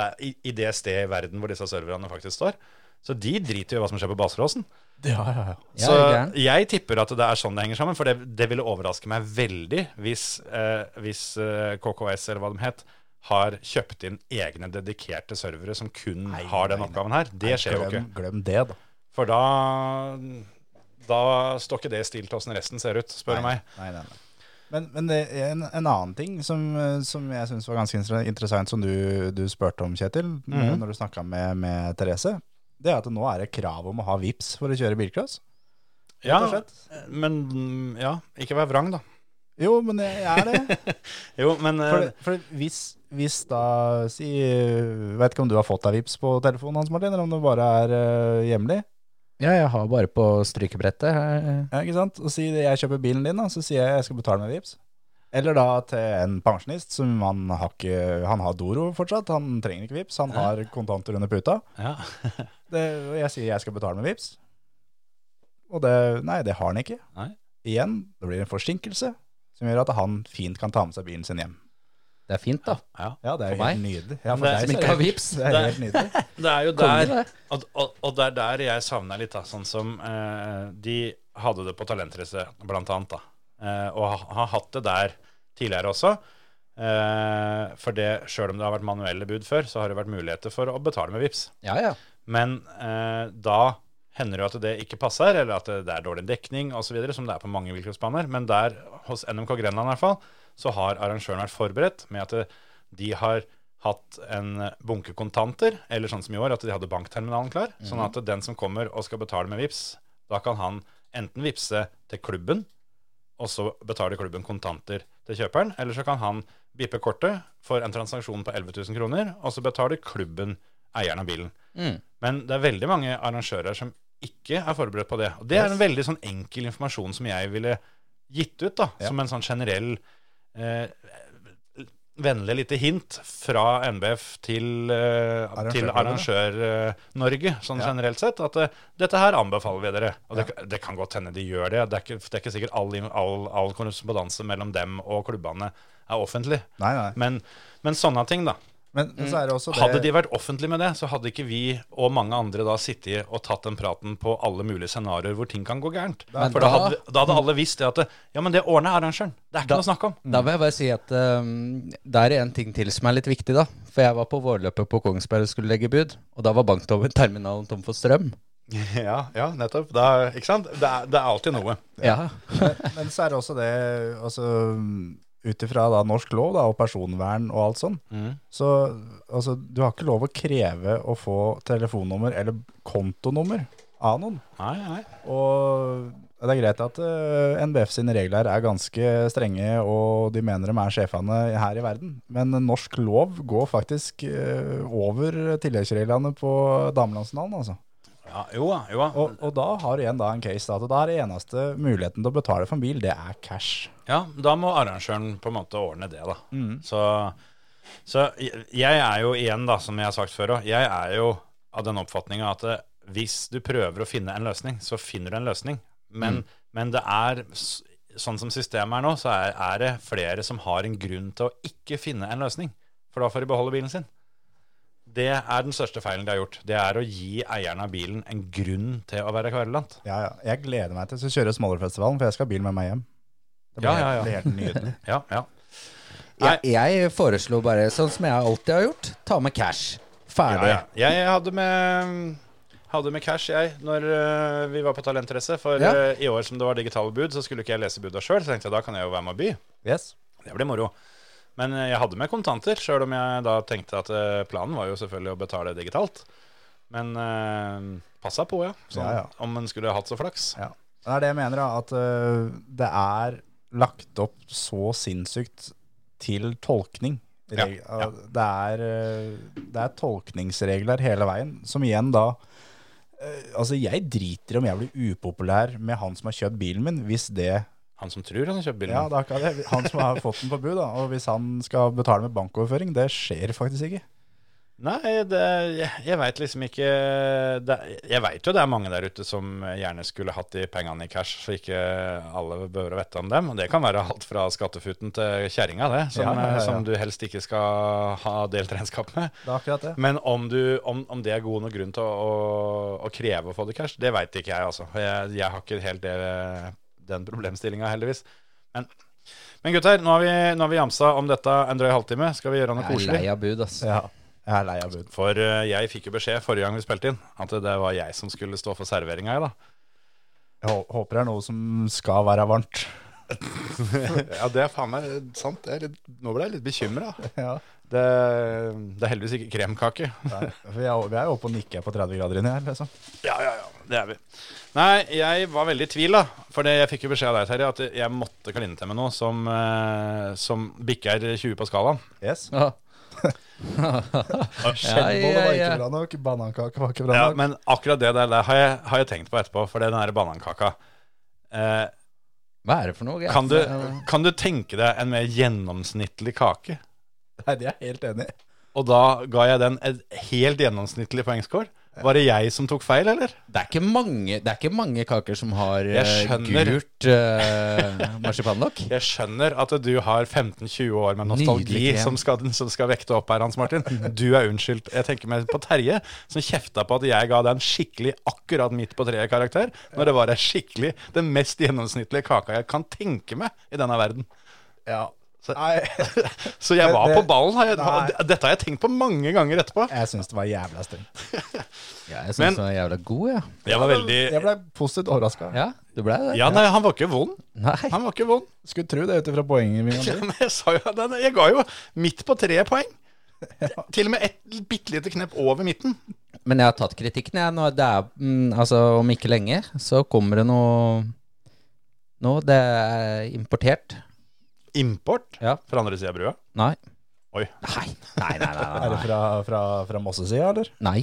S3: Det er i, I det stedet i verden hvor disse serverne faktisk står. Så de driter jo i hva som skjer på Baseråsen.
S4: Ja, ja, ja.
S5: Ja,
S3: Så
S5: er du gæren?
S3: jeg tipper at det er sånn det henger sammen, for det, det ville overraske meg veldig hvis, eh, hvis eh, KKS, eller hva de het, har kjøpt inn egne dedikerte servere som kun har den oppgaven her. Det skjer jo ikke.
S4: Glem, glem det, da.
S3: For da, da står ikke det i stil til åssen resten ser ut, spør du meg.
S4: Nei, nei, nei. Men, men det er en, en annen ting som, eh, som jeg syns var ganske inter- interessant, som du, du spurte om, Kjetil,
S3: Mhm.
S4: når du snakka med, med Therese. Det er at nå er det krav om å ha VIPs for å kjøre bilcross.
S3: Ja,
S4: rett og slett.
S3: men mm, ja, ikke vær vrang, da.
S4: Jo, men det er det.
S3: Jo, men eh,
S4: For, for hvis, hvis da si, eh, Vet ikke om du har fått deg VIPs på telefonen hans, Martin, eller om det bare er eh, hjemlig.
S5: ja, jeg har bare på strykebrettet her.
S4: Ja, ikke sant? Og si det, jeg kjøper bilen din, da, så sier jeg jeg skal betale med VIPs. Eller da til en pensjonist som han har, ikke, han har Doro fortsatt. Han trenger ikke VIPs, han har kontanter under puta.
S3: ja.
S4: Det, og jeg sier jeg skal betale med VIPs. Og det, nei, det har han ikke.
S3: Nei.
S4: Igjen, det blir en forsinkelse som gjør at han fint kan ta med seg bilen sin hjem.
S5: Det er fint, da.
S3: ja.
S4: Ja, det er
S5: For
S4: jo helt nydelig. Ja, for
S3: Det-
S4: deg
S5: Som
S4: så
S5: ikke
S4: er
S5: har
S4: det-
S5: vips.
S4: Det er helt nydelig.
S3: Det er jo
S5: Konge,
S3: der
S5: det.
S3: og, og, og det er der jeg savner litt, da. Sånn som eh, de hadde det på Talentrace, blant annet, da. Eh, og ha- har hatt det der tidligere også. Eh, for det, sjøl om det har vært manuelle bud før, så har det vært muligheter for å betale med VIPs.
S5: Ja, ja.
S3: Men eh, da hender det jo at det ikke passer, eller at det er dårlig dekning osv., som det er på mange bilcrossbaner. Men der, hos NMK Grenland i hvert fall, så har arrangøren vært forberedt med at det, de har hatt en bunke kontanter, eller sånn som i år, at de hadde bankterminalen klar. Sånn at den som kommer og skal betale med VIPs, da kan han enten vipse til klubben, og så betaler klubben kontanter til kjøperen, eller så kan han bippe kortet for en transaksjon på 11 000 kroner, og så betaler klubben eieren av bilen.
S5: Mm.
S3: Men det er veldig mange arrangører som ikke er forberedt på det. Og det er en veldig sånn enkel informasjon som jeg ville gitt ut, da, som en sånn generell eh, vennlig lite hint fra NBF til, eh, til Arrangør-Norge, sånn generelt sett, at eh, dette her anbefaler vi dere. Og det, det kan godt hende de gjør det. Det er ikke, det er ikke sikkert all, all, all korrespondanse mellom dem og klubbene er offentlig.
S4: Nei, nei.
S3: Men, men sånne ting, da.
S4: Men, men så er det også det
S3: Mm. Hadde de vært offentlige med det, så hadde ikke vi og mange andre da sittet og tatt den praten på alle mulige scenarioer hvor ting kan gå gærent.
S5: Men
S3: For da
S5: da-
S3: hadde, vi- da hadde alle visst det at det- Ja, men det ordner arrangøren. Det er ikke noe å snakke om.
S5: Da vil jeg bare si at um, det er en ting til som er litt viktig, da. For jeg var på vårløpet på Kongsberg og skulle legge bud, og da var bankterminalen tom for strøm.
S3: Ja, ja nettopp. Da, ikke sant? Det er, det er alltid noe.
S5: Ja.
S4: Men så er det også det altså, Ut ifra da norsk lov da, og personvern og alt sånn,
S3: Mm.
S4: så altså, du har ikke lov å kreve å få telefonnummer eller kontonummer av noen.
S3: Nei, nei.
S4: Og det er greit at eh, NBF sine regler er ganske strenge, og de mener de er sjefene her i verden. Men norsk lov går faktisk eh, over tilleggsreglene på damelandsfinalen, altså.
S3: Ja, jo da, jo da.
S4: Og, og da har du igjen da en case da, at da er det eneste muligheten til å betale for en bil, det er cash.
S3: Ja, da må arrangøren på en måte ordne det, da.
S4: Mm.
S3: Så, så jeg jeg er jo igjen, da, som jeg har sagt før òg, jeg er jo av den oppfatninga at eh, hvis du prøver å finne en løsning, så finner du en løsning. Men,
S4: Mm.
S3: men det er s- sånn som systemet er nå, så er, er det flere som har en grunn til å ikke finne en løsning. For da får de beholde bilen sin. Det er den største feilen de har gjort. Det er å gi eieren av bilen en grunn til å være kverulant.
S4: Ja, ja. Jeg gleder meg til å kjøre Smålerfestivalen, for jeg skal ha bil med meg hjem. Det
S3: Ja, ja, ja.
S4: helt- det blir helt nydelig.
S3: <laughs> Ja, ja. Nei.
S5: Jeg, jeg foreslo bare, sånn som jeg alltid har gjort, ta med cash. Ferdig.
S3: Ja, ja. Jeg hadde med, hadde med cash, jeg, når øh, vi var på Talentrace. For
S5: Ja.
S3: øh, i år som det var digitale bud, så skulle ikke jeg lese buda sjøl. Så tenkte jeg da kan jeg jo være med og by.
S4: Yes.
S3: Det blir moro. Men øh, jeg hadde med kontanter, sjøl om jeg da tenkte at øh, planen var jo selvfølgelig å betale digitalt. Men øh, passa på, ja. Sånn,
S4: Ja, ja.
S3: Om en skulle hatt så flaks.
S4: Ja. Det er det jeg mener, da, at øh, det er lagt opp så sinnssykt til tolkning.
S3: Ja,
S4: Reg- uh, Det, er, øh, det er tolkningsregler hele veien, som igjen da eh, øh, Altså, jeg driter om jeg blir upopulær med han som har kjøpt bilen min, hvis det
S3: Han som tror han har kjøpt bilen.
S4: Ja, det er akkurat det. Han som har fått den på bud, da. Og hvis han skal betale med bankoverføring, det skjer faktisk ikke.
S3: Nei, det, jeg, jeg veit liksom ikke det, Jeg veit jo det er mange der ute som gjerne skulle hatt de pengene i cash, så ikke alle behøver å vite om dem. Og det kan være alt fra skattefuten til kjerringa, det, som,
S4: Ja, ja, ja.
S3: som du helst ikke skal ha delt regnskap med.
S4: Det er akkurat det.
S3: Men om, du, om, om det er god nok grunn til å, å, å kreve å få det cash, det veit ikke jeg, altså. Jeg, jeg har ikke helt det, den problemstillinga, heldigvis. Men, men gutter, nå har, vi, nå har vi jamsa om dette en drøy halvtime. Skal vi gjøre noe
S5: Jeg er
S3: koselig?
S5: lei av bud, ass.
S4: Ja, jeg er lei av bud.
S3: For eh, jeg fikk jo beskjed forrige gang vi spilte inn, at det var jeg som skulle stå for serveringa. jeg, da.
S4: Jeg hå- håper det er noe som skal være varmt.
S3: <laughs> ja, det er faen meg sant. Jeg er litt, nå ble jeg litt bekymra.
S4: Ja.
S3: <laughs> Det, det er heldigvis ikke kremkake.
S4: Nei, for vi er, vi er jo oppe og nikker på 30 grader inni her, liksom.
S3: <laughs> Ja, ja, ja, det er vi. Nei, jeg var veldig i tvil, da. For det- jeg fikk jo beskjed av deg, Terje, at jeg måtte kline til med noe som, eh, som bikker 20 på skalaen.
S4: Yes.
S5: Ja.
S4: Skjellbolle var
S5: ja.
S4: ikke bra nok, banankake var ikke bra
S3: Ja,
S4: nok.
S3: men akkurat det der, der har, jeg, har jeg tenkt på etterpå, for den der banankaka eh,
S5: <laughs> Hva er det for noe?
S3: kan, du, kan du tenke deg en mer gjennomsnittlig kake?
S4: Nei, det er jeg helt enig i.
S3: Og da ga jeg den et helt gjennomsnittlig poengscore. Var det jeg som tok feil, eller?
S5: Det er ikke mange, det er ikke mange kaker som har
S3: Jeg
S5: eh,
S3: skjønner.
S5: gult eh, marsipan
S3: <laughs>
S5: nok.
S3: Jeg skjønner at du har 15-20 år med nostalgi
S5: Nydelig krem.
S3: som skal, som skal vekte opp her, Hans Martin. Du er unnskyldt. Jeg tenker meg på Terje, som kjefta på at jeg ga deg en skikkelig akkurat midt på treet-karakter, når det var en skikkelig, den mest gjennomsnittlige kaka jeg kan tenke meg i denne verden.
S4: Ja. Nei,
S3: Så jeg
S4: Men
S3: var
S4: det-
S3: på ballen. har jeg-
S4: Nei.
S3: Dette har jeg tenkt på mange ganger etterpå.
S4: <laughs> jeg syns det var jævla strengt.
S5: Ja, jeg
S3: Men-
S5: syns den var jævla god, ja.
S3: Jeg var veldig
S4: Jeg ble positivt overraska.
S5: Ja, du blei det?
S3: Ja, nei, han var ikke vond.
S5: Nei.
S3: Han var ikke vond.
S4: Skulle tro det ut ifra poenget vi hadde.
S3: Ja, <laughs> men jeg, sa jo, at den- jeg ga jo midt på tre poeng. Til og med et bitte lite knepp over midten.
S5: Men jeg har tatt kritikken, jeg. Nå, det er, mm, altså, om ikke lenge så kommer det noe Nå, det er importert.
S3: Import
S5: Ja.
S3: fra andre sida av brua.
S5: Nei.
S3: Oi.
S5: Nei, nei, nei. nei,
S4: Er det
S5: nei, nei.
S4: fra, fra, fra Mossesida, eller?
S5: nei.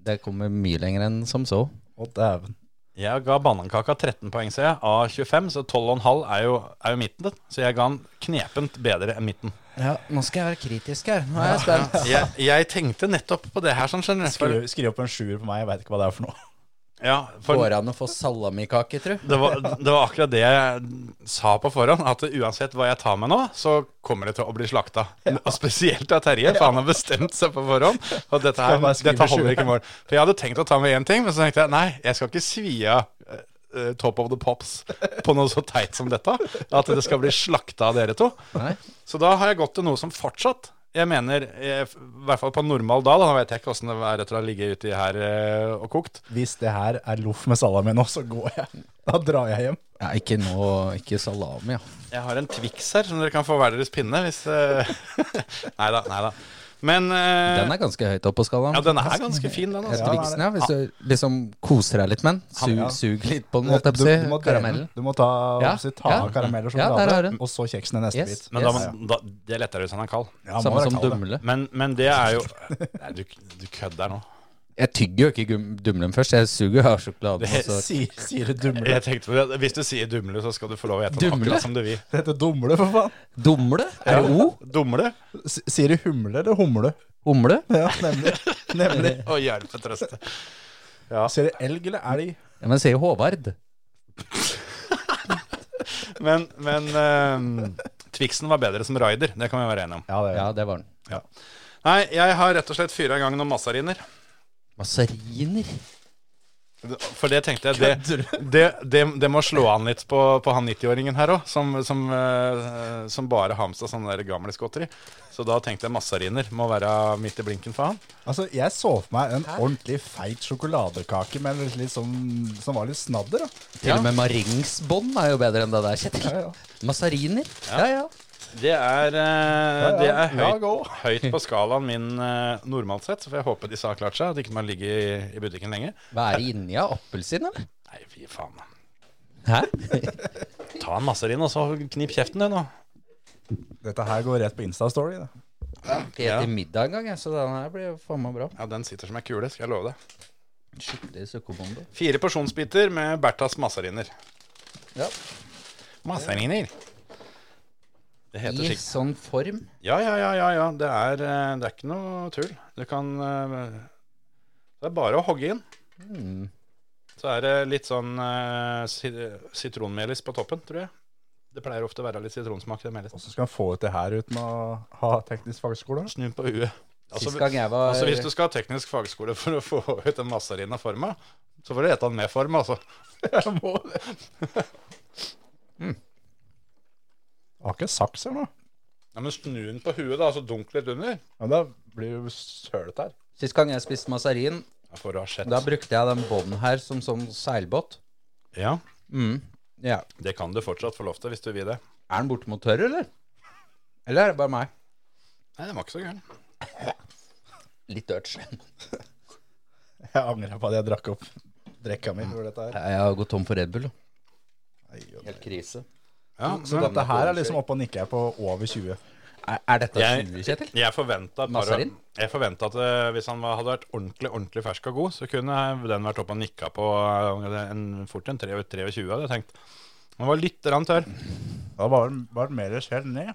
S5: Det kommer mye lenger enn som så.
S4: Å, dæven.
S3: Jeg ga banankaka 13 poeng, ser jeg, av 25, så 12,5 er, jo- er jo midten. Så jeg ga den knepent bedre enn midten.
S5: Ja, nå skal jeg være kritisk her. Nå er jeg spent.
S3: Jeg, jeg tenkte nettopp på det her, sånn, skjønner du. For,
S4: Skriv, skriv opp en sjuer på meg, jeg veit ikke hva det er for noe.
S3: ja, for
S5: Går det an å få salamikake, tru?
S3: det var, det var akkurat det jeg sa på forhånd, at uansett hva jeg tar med nå, så kommer det til å bli slakta. Og spesielt av Terje, for han har bestemt seg på forhånd. Og dette,
S4: Skal jeg
S3: her,
S4: bare skrive
S3: dette holder
S4: sju?
S3: ikke mål. For jeg hadde tenkt å ta med én ting, men så tenkte jeg nei, jeg skal ikke svi av eh, Top of the Pops på noe så teit som dette. At det skal bli slakta av dere to.
S5: Nei.
S3: Så da har jeg gått til noe som fortsatt jeg mener, eh, f- i hvert fall på normal da, da vet jeg ikke åssen det er etter å ha ligget uti her eh, og kokt.
S4: Hvis det her er loff med salami nå, så går jeg. Da drar jeg hjem.
S5: Ja, ikke nå, ikke salami, ja.
S3: Jeg har en Twix her som dere kan få hver deres pinne hvis <laughs> uh... Nei da, nei da. Men eh,
S5: Den er ganske høyt oppe på skalaen.
S3: Ja, den er ganske fin, den.
S5: Etter
S3: Altså.
S5: Vixen, ja. Hvis du liksom koser deg litt med den. Sug,
S4: Ja.
S5: sug litt på den,
S4: Du,
S5: holdt jeg på å si.
S4: må dele den.
S5: Karamellen.
S4: Du må ta,
S5: Ja,
S4: si, ta
S5: ja.
S4: karameller som
S5: Ja, der har du
S4: sjokolade,
S5: den.
S4: og så kjeksen i neste
S5: Yes.
S4: bit.
S3: Men da,
S5: Yes.
S3: må- da, det er lettere hvis han er kald.
S4: Ja, må
S5: Samme
S4: være
S5: som
S4: kald, det.
S5: dumle.
S3: Men, men det er jo Nei, du, du
S5: <laughs>
S3: kødder nå.
S5: Jeg tygger jo ikke gum- dumlen først. Jeg suger av altså. sjokoladen.
S3: Det-
S4: <laughs>
S5: og så-
S4: Sier, sier du dumle?
S3: Jeg tenkte, på det. Hvis du sier dumle, så skal du få lov å ete den
S5: Dumle?
S3: akkurat som du vil.
S4: Det heter dumle, for faen.
S5: Dumle? Er det O?
S3: Dumle?
S4: S- Sier du humle eller humle? <laughs>
S5: Humle?
S4: Ja, nemlig. nemlig.
S3: Å, hjelpe trøste.
S4: Sier du elg eller elg?
S5: Ja, men jeg sier Håvard.
S3: Men, men eh, Twixen var bedre som rider, det kan vi være enige om.
S4: Ja, det
S5: Ja, det var den.
S3: Nei, jeg har rett og slett fyra i gang noen massariner.
S5: Mazariner?
S3: For det tenkte jeg, det, det, det, det må slå an litt på, på han 90-åringen her òg, som, som, eh, som bare har med seg sånne der gamle skotteri. Så da tenkte jeg massariner må være midt i blinken for han.
S4: Altså, jeg så for meg en ordentlig feit sjokoladekake med litt, litt sånn, som var litt snadder. da.
S5: Til og med maringsbånd er jo bedre enn det der, Kjetil.
S4: ja.
S5: Mazariner? Ja, ja.
S3: Det er, eh, det er
S4: Ja,
S3: høyt,
S4: gå.
S3: høyt på skalaen min eh, normalt sett, så får jeg håpe disse har klart seg, at ikke man ligger i, i butikken lenge.
S5: Hva er det inni av? Appelsin, eller?
S3: Nei, fy faen.
S5: <laughs> Hæ?
S3: Ta en massarin, og så knip kjeften, du, nå.
S4: Dette her går rett på Insta-story. da.
S5: Helt i middag en gang, jeg, så den her blir jo faen meg bra.
S3: Ja, den sitter som ei kule, skal jeg love deg.
S5: Skikkelig sukkobombe.
S3: Fire porsjonsbiter med Berthas massariner.
S5: Ja.
S3: Masse ligner. Det heter
S5: I
S3: slik.
S5: sånn form.
S3: Ja, ja, ja, ja, ja. Det, er, eh, det er ikke noe tull. Du kan eh, Det er bare å hogge inn.
S5: Hmm.
S3: Så er det litt sånn eh, si- sitronmelis på toppen, tror jeg. Det pleier ofte å være litt sitronsmak i det melis.
S4: Hvordan skal han få ut det her uten å ha teknisk fagskole?
S3: Snu på huet. Altså,
S5: Sist gang jeg var
S3: altså Hvis du skal ha teknisk fagskole for å få ut den massarina forma, så får du ete den med form, altså. <laughs> Jeg må det.
S4: Jeg har ikke saks her nå.
S3: Ja, men snu den på huet, da, og så dunk litt under.
S4: Men da blir jo sølet her.
S5: Sist gang jeg spiste mazarin,
S3: Ja, For å ha sett.
S5: da brukte jeg den bånden her som sånn seilbåt.
S3: Ja,
S5: Ja.
S3: det kan du fortsatt få lov til hvis du vil det.
S5: Er den bortimot tørr, eller? Eller er det bare meg?
S3: Nei, den var ikke så gæren.
S5: Litt urge.
S4: <laughs> Jeg angrer på at jeg drakk opp drekka mi for dette her.
S5: Jeg har gått tom for Red Bull. Helt krise.
S3: Ja,
S4: Så dette her er liksom oppe og nikker jeg på over 20.
S5: Er, er dette
S3: Jeg-
S5: 20, Kjetil?
S3: Jeg forventa at,
S5: Mazarin?
S3: jeg forventet at eh, hvis han var, hadde vært ordentlig ordentlig fersk og god, så kunne den vært oppe og nikka på eh, en, fort en 23, 23, hadde jeg tenkt. Den var litt rann tørr.
S4: Da var den var den mer skjelt ned.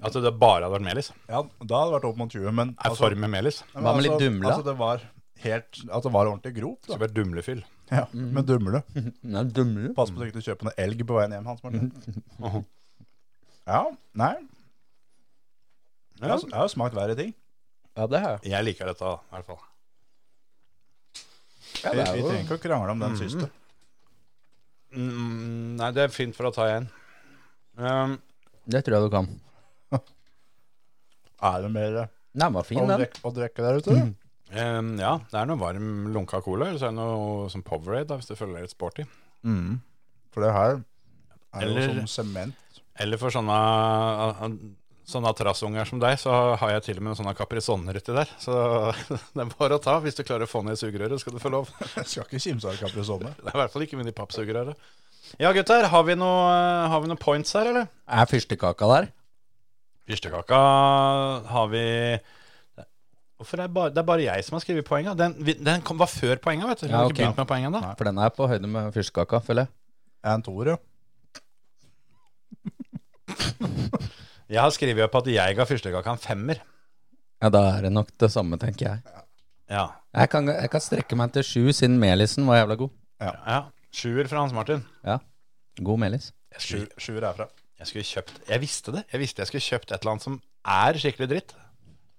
S3: At det bare hadde vært melis.
S4: Ja, da hadde det vært opp mot 20, men altså,
S3: Er for med melis.
S4: men
S5: Hva med litt dumle?
S4: Altså, det var helt At det var ordentlig grop,
S3: Så
S4: da.
S3: det ble dumlefyll.
S4: <laughs> Ja, men dumle.
S5: Nei, dummer du?
S4: <laughs> Pass på at du ikke kjøper noe elg på veien hjem, Hans <laughs> Martin. Ja, nei. Altså, Jeg
S3: altså-
S4: har, jeg har smakt verre ting.
S5: Ja, det har jeg.
S3: Jeg liker dette, da, i hvert fall.
S4: Vi, vi trenger ikke å krangle om den siste.
S3: Mm, nei, det er fint for å ta igjen. Um,
S5: Det tror jeg du kan.
S4: Er det mer
S5: Nei, den var fin,
S4: å
S5: den.
S4: drikke, å drikke der ute?
S3: um, ja, det er noe varm lunka cola, eller så er det noe som Powerade, da, hvis du føler deg litt sporty.
S4: Mm. For det her er
S3: Eller-
S4: jo som sement.
S3: Eller for sånne, eh, sånne trassunger som deg, så har jeg til og med sånne kaprisonner uti der. Så <laughs> det er bare å ta. Hvis du klarer å få ned sugerøret, skal du få lov. <laughs>
S4: Jeg skal ikke kimse av kaprisone.
S3: Det er i hvert fall ikke mine pappsugerøret. Ja, gutter, har vi noen har vi noe points her, eller?
S5: Er fyrstekaka der?
S3: Fyrstekaka har vi Hvorfor er det bare, det er bare jeg som har skrevet poenga? Den, vi- den kom, var før poenga, vet du. Vi
S5: Ja,
S3: har ikke
S5: ok.
S3: begynt med poenga da.
S5: For den er på høyde med fyrstekaka, føler jeg.
S4: Jeg er en toer, ja.
S3: Jeg har skrevet opp at jeg ga fyrstekaka en femmer.
S5: Ja, da er det nok det samme, tenker jeg.
S3: Ja.
S5: Jeg kan, jeg kan strekke meg til sju, siden melisen var jævla god.
S3: ja. Sjuer fra Hans Martin.
S5: Ja, god melis.
S3: Jeg
S4: Sju- Sjuer herfra.
S3: Jeg skulle kjøpt Jeg visste det. Jeg visste jeg skulle kjøpt et eller annet som er skikkelig dritt.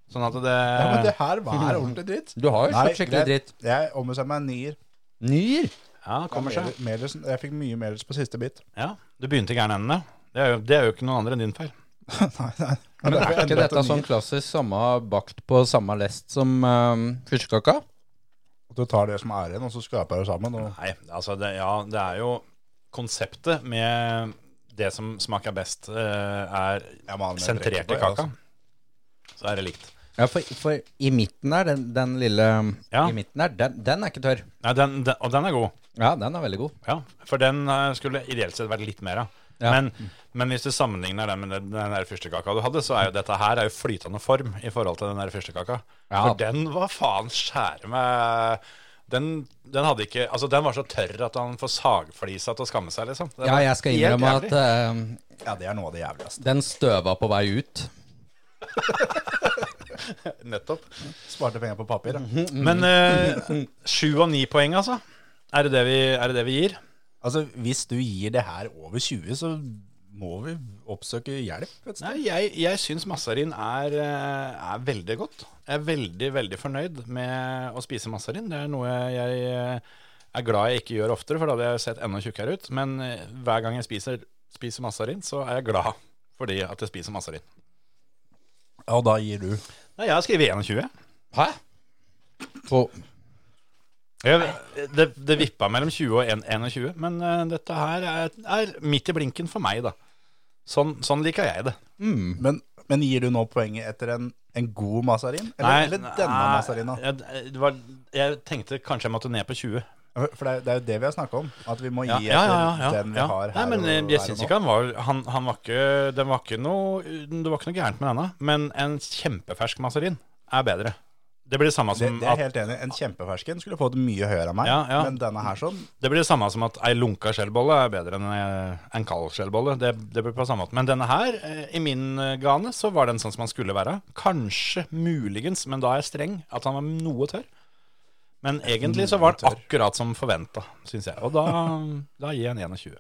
S3: Sånn at det
S4: Ja, men det her var ordentlig dritt.
S5: Eh. Du har jo
S4: Nei,
S5: kjøpt skikkelig
S4: greit.
S5: dritt.
S4: Jeg ombestemmer meg en nier.
S5: Nyer!
S3: Ja, kommer seg.
S4: Melisen, jeg fikk mye melers på siste bit. <laughs>
S3: Ja, Du begynte i gærne endene. Det er, jo, det er jo ikke noen andre enn din feil.
S4: nei, nei. Men
S5: Er ikke dette sånn klassisk samme bakt på samme lest som um, fyrstekaka?
S4: Du tar det som er igjen, og så skraper du sammen. Og...
S3: Nei, altså det, Ja, det er jo konseptet med det som smaker best, eh, er
S4: Jeg må ha mer
S3: sentrert i
S4: drikke på, jeg,
S3: kaka.
S4: altså.
S3: Så er det likt.
S5: Ja, for, for i midten der, den, den lille
S3: Ja.
S5: I midten der, den, den er ikke tørr.
S3: Nei, den, den, og den er god.
S5: Ja, den er veldig god.
S3: Ja, for den eh, skulle ideelt sett vært litt mer av.
S5: Ja.
S3: Men, men hvis du sammenligner den med den, den der fyrstekaka du hadde, så er jo dette her er jo flytende form i forhold til den der fyrstekaka.
S5: Ja.
S3: For den var faen skjære med den, den hadde ikke Altså, den var så tørr at han får sagflisa til å skamme seg, liksom. Den
S5: Ja,
S3: var
S5: jeg skal
S3: helt
S5: innrømme
S3: jævlig.
S5: at um,
S4: Ja, det er noe av det jævligste.
S5: den støva på vei ut. eh,
S3: Nettopp.
S4: Sparte penger på papir. da.
S5: Mhm.
S3: Men eh, sju av ni poeng, altså. Er det det vi, er det det vi gir?
S4: Altså, hvis du gir det her over 20, så må vi oppsøke hjelp. Et sted.
S3: Nei, jeg, jeg syns massarin er, eh, er veldig godt. Jeg er veldig, veldig fornøyd med å spise massarin. Det er noe jeg eh, er glad jeg ikke gjør oftere, for da hadde jeg sett enda tjukkere ut. Men eh, hver gang jeg spiser, spiser massarin, så er jeg glad fordi at jeg spiser massarin.
S4: Og da gir du.
S3: Nei, jeg har skrevet 21.
S5: Hæ? På,
S3: Jeg, det, det vippa mellom 20 og en- 21, men eh, dette her er, er midt i blinken for meg, da. Sånn, sånn liker jeg det.
S4: Men, men gir du nå poenget etter en, en god mazarin? Eller, eller denne
S3: nei,
S4: mazarina?
S3: jeg, det var, jeg tenkte kanskje jeg måtte ned på 20.
S4: For det er, det er jo det vi har snakka om. At vi må gi
S3: Ja,
S4: etter
S3: ja, ja, ja,
S4: den vi
S3: ja.
S4: har her.
S3: Nei, men eh,
S4: og-
S3: jeg,
S4: her
S3: jeg
S4: og
S3: syns
S4: nå.
S3: ikke han var han, han var ikke, Det var ikke noe Det var ikke noe gærent med denne, men en kjempefersk mazarin er bedre. Det blir det samme
S4: Det,
S3: som
S4: det er jeg helt enig. i. En kjempefersken skulle fått mye høyere av meg,
S3: Ja, ja.
S4: men denne her sånn
S3: Det blir det samme som at ei lunka skjellbolle er bedre enn eh, en kald skjellbolle. Det, det blir på samme måte. Men denne her, eh, i min eh, gane, så var den sånn som han skulle være. Kanskje, muligens, men da er jeg streng, at han var noe tørr. Men egentlig så var den akkurat som forventa, syns jeg. Og da, da gir jeg en 21.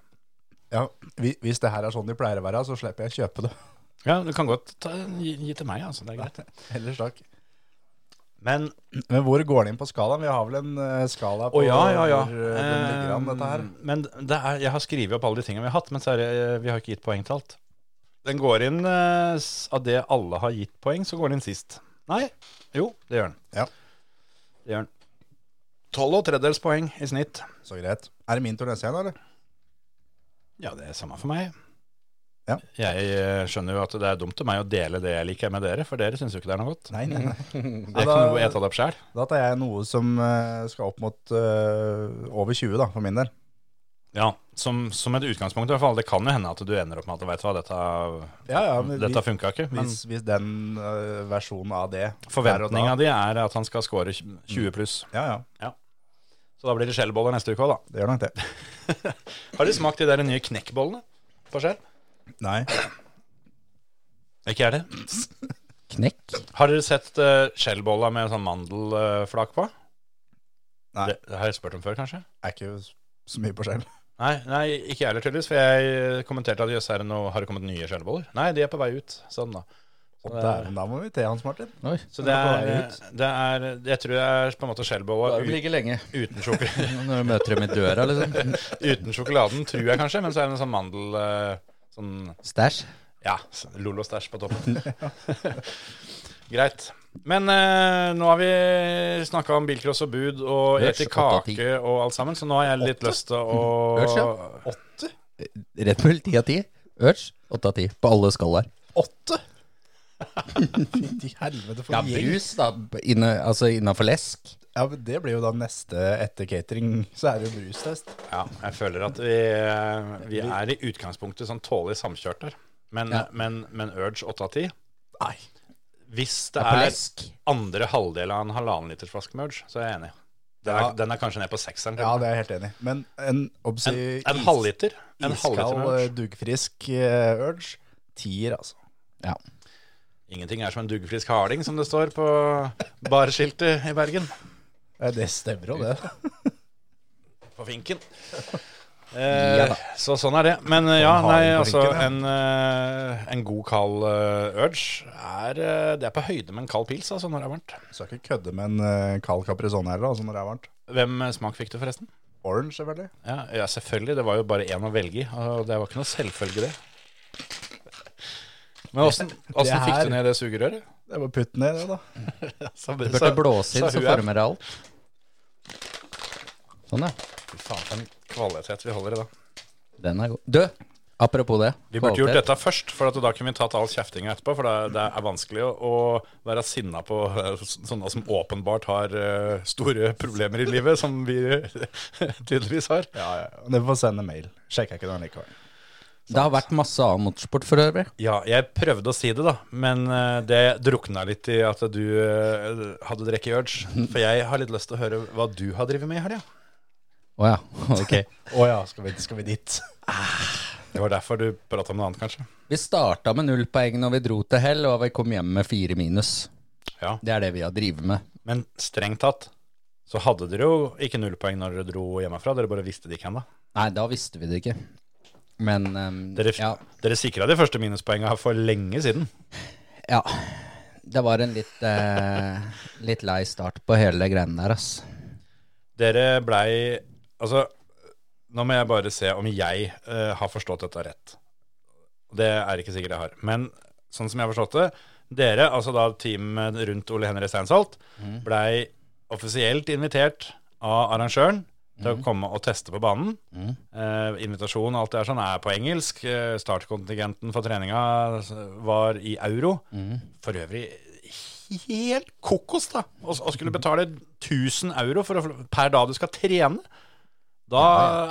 S4: ja, hvi- Hvis det her er sånn de pleier å være, så slipper jeg å kjøpe det. <laughs>
S3: Ja, du kan godt ta, gi, gi til meg, altså. Det er greit.
S4: Ellers takk.
S3: Men
S4: Men hvor går det inn på skalaen? Vi har vel en eh, skala på
S3: Å ja, ja, ja.
S4: hvor eh, den ligger an, dette her.
S3: Eh, Men det er, jeg har skrevet opp alle de tingene vi har hatt, men så er det, eh, vi har ikke gitt poeng til alt. Den går inn eh, s- av det alle har gitt poeng, så går den inn sist. Nei, jo, det gjør den.
S4: Ja.
S3: Det gjør den. Tolv og tredjedels poeng i snitt.
S4: Så greit. Er det min tur neste igjen, eller?
S3: Ja, det er samme for meg.
S4: Ja.
S3: Jeg eh, skjønner jo at det er dumt av meg å dele det jeg liker med dere, for dere syns jo ikke det er noe godt.
S4: Nei, nei, nei.
S3: <laughs> Det
S4: Ja,
S3: kan
S4: da-
S3: du ete det opp sjæl.
S4: Da tar jeg noe som eh, skal opp mot eh, over 20, da, for min del.
S3: Ja, som, som et utgangspunkt i hvert fall. Det kan jo hende at du ender opp med at du veit hva, dette,
S4: Ja, ja, men
S3: dette
S4: hvis,
S3: funka ikke. Men
S4: hvis, hvis den eh, versjonen av det
S3: Forventninga
S4: der og da- Mm.
S3: di er at han skal score 20 pluss.
S4: Ja, ja.
S3: Så da blir det skjellboller neste uke òg, da.
S4: Det gjør nok det.
S3: Har du smakt de der nye knekkbollene på skjell?
S4: Nei.
S3: Ikke jeg det.
S5: Knekk.
S3: Har dere sett uh, skjellbolla med sånn mandelflak på?
S4: Nei.
S3: Det, det har jeg spurt om før, kanskje?
S4: Er ikke så mye på skjell.
S3: Nei, nei ikke jeg heller, tydeligvis. For jeg eh, kommenterte at jøss, er det noe, har det kommet nye skjellboller? Nei, de er på vei ut. Sånn, da.
S4: Og
S3: det er-
S4: dæven, da må vi til Hans Martin.
S5: Oi.
S3: Så det
S4: er på
S3: er,
S4: vei
S3: det er Jeg tror det er på en måte skjellbolla
S5: Bare
S3: ut-
S5: ligge lenge.
S3: uten, sjokol
S5: Når du møter dem i døra, liksom.
S3: <laughs> uten sjokoladen, tror jeg kanskje. Men så er det en sånn mandel... eh, sånn
S5: Stæsj.
S3: Ja, Lolo Stæsj på <laughs> toppen. Greit. Men eh, nå har vi snakka om bilcross og bud og
S5: Lunsj,
S3: ete
S5: åtte av ti.
S3: kake og alt sammen, så nå har jeg litt lyst til å
S5: Lunsj,
S3: Åtte?
S5: Red Bull 10 av 10. Urge 8 av 10 på alle skalaer.
S4: <laughs> Åtte! Fy helvete for
S5: Ja,
S4: en gjeng.
S5: brus, da. Inne, altså innafor lesk.
S4: Ja, men det blir jo da neste etter catering, så er det jo brustest.
S3: Ja, jeg føler at vi, eh, vi er i utgangspunktet sånn tålelig samkjørt der. Men,
S5: Ja.
S3: men, men Urge åtte av ti
S4: Nei.
S3: Hvis det
S5: På
S3: er
S5: lesk.
S3: andre halvdel av en halvannen liters flaske med Urge, så er jeg enig. Den er,
S4: Ja.
S3: den er kanskje ned på sekseren.
S4: Ja, det er jeg helt enig i. Men en, obsi,
S3: en en halvliter. En halvliter med
S4: Iskald, eh,
S3: Urge.
S4: duggfrisk eh, urge. Tier, altså.
S5: Ja.
S3: Ingenting er som en duggfrisk harding, som det står på barskiltet i Bergen.
S4: Eh, Det stemmer jo, det.
S3: På
S4: <laughs>
S3: finken.
S5: Ja
S3: Eh,
S5: da.
S3: så sånn er det. Men eh, ja,
S4: Sånn
S3: nei,
S4: harding på
S3: altså en,
S4: finken,
S3: eh, en god kald eh, urge er eh, Det er på høyde med en kald pils altså, når det er varmt.
S4: Skal ikke kødde med en eh, kald caprisonne heller, altså når det er varmt.
S3: Hvem eh, smak fikk du, forresten?
S4: Orange, selvfølgelig.
S3: Ja, ja, selvfølgelig. Det var jo bare én å velge i. Og det var ikke noe selvfølge, det. Men åssen
S4: det
S3: åssen fikk
S4: her-
S3: du ned det sugerøret?
S4: Det var putt ned, det, da.
S3: Så,
S5: Du burde blåse inn, så
S3: hun er-
S5: former det alt. Sånn, ja.
S3: Fy faen, for en kvalitet vi holder i, da.
S5: Den er god. Du, apropos det.
S3: Vi burde gjort
S5: kvalitet.
S3: dette først, for at da kunne vi tatt all kjeftinga etterpå. For det, det er vanskelig å, å være sinna på eh, sånne som åpenbart har eh, store problemer i livet, som vi <laughs> tydeligvis har.
S4: Ja, ja. ja. Dere får sende mail. Sjekker ikke den likevel.
S5: Det har vært masse annen motorsport for øvrig.
S3: Ja, jeg prøvde å si det, da, men eh, det drukna litt i at du eh, hadde drikke urge.
S4: <laughs>
S3: For jeg har litt lyst til å høre hva du har drevet med i helga.
S5: Å ja, <laughs> ok.
S4: Å ja, skal vi, skal vi dit?
S3: Ah. Det var derfor du prata om noe annet, kanskje.
S5: Vi starta med null poeng når vi dro til hell, og vi kom hjem med fire minus.
S3: Ja,
S5: Det er det vi har drevet med.
S3: Men strengt tatt så hadde dere jo ikke nullpoeng når dere dro hjemmefra. Dere bare visste det ikke ennå.
S5: Nei, da visste vi det ikke. Men ehm,
S3: Dere,
S5: ja,
S3: dere sikra de første minuspoenga for lenge siden.
S5: ja. Det var en litt, eh, litt lei start på hele greiene der, ass.
S3: Dere blei Altså, nå må jeg bare se om jeg eh, har forstått dette rett. Det er ikke sikkert jeg har. Men sånn som jeg har forstått det Dere, altså da teamet rundt Ole Henri Steinsholt, blei offisielt invitert av arrangøren til å komme og teste på banen. Eh, invitasjon og alt det der sånn er på engelsk. Eh, startkontingenten for treninga var i euro. For øvrig helt kokos, da! Og, og skulle betale 1000 euro for å, få- per dag du skal trene. Da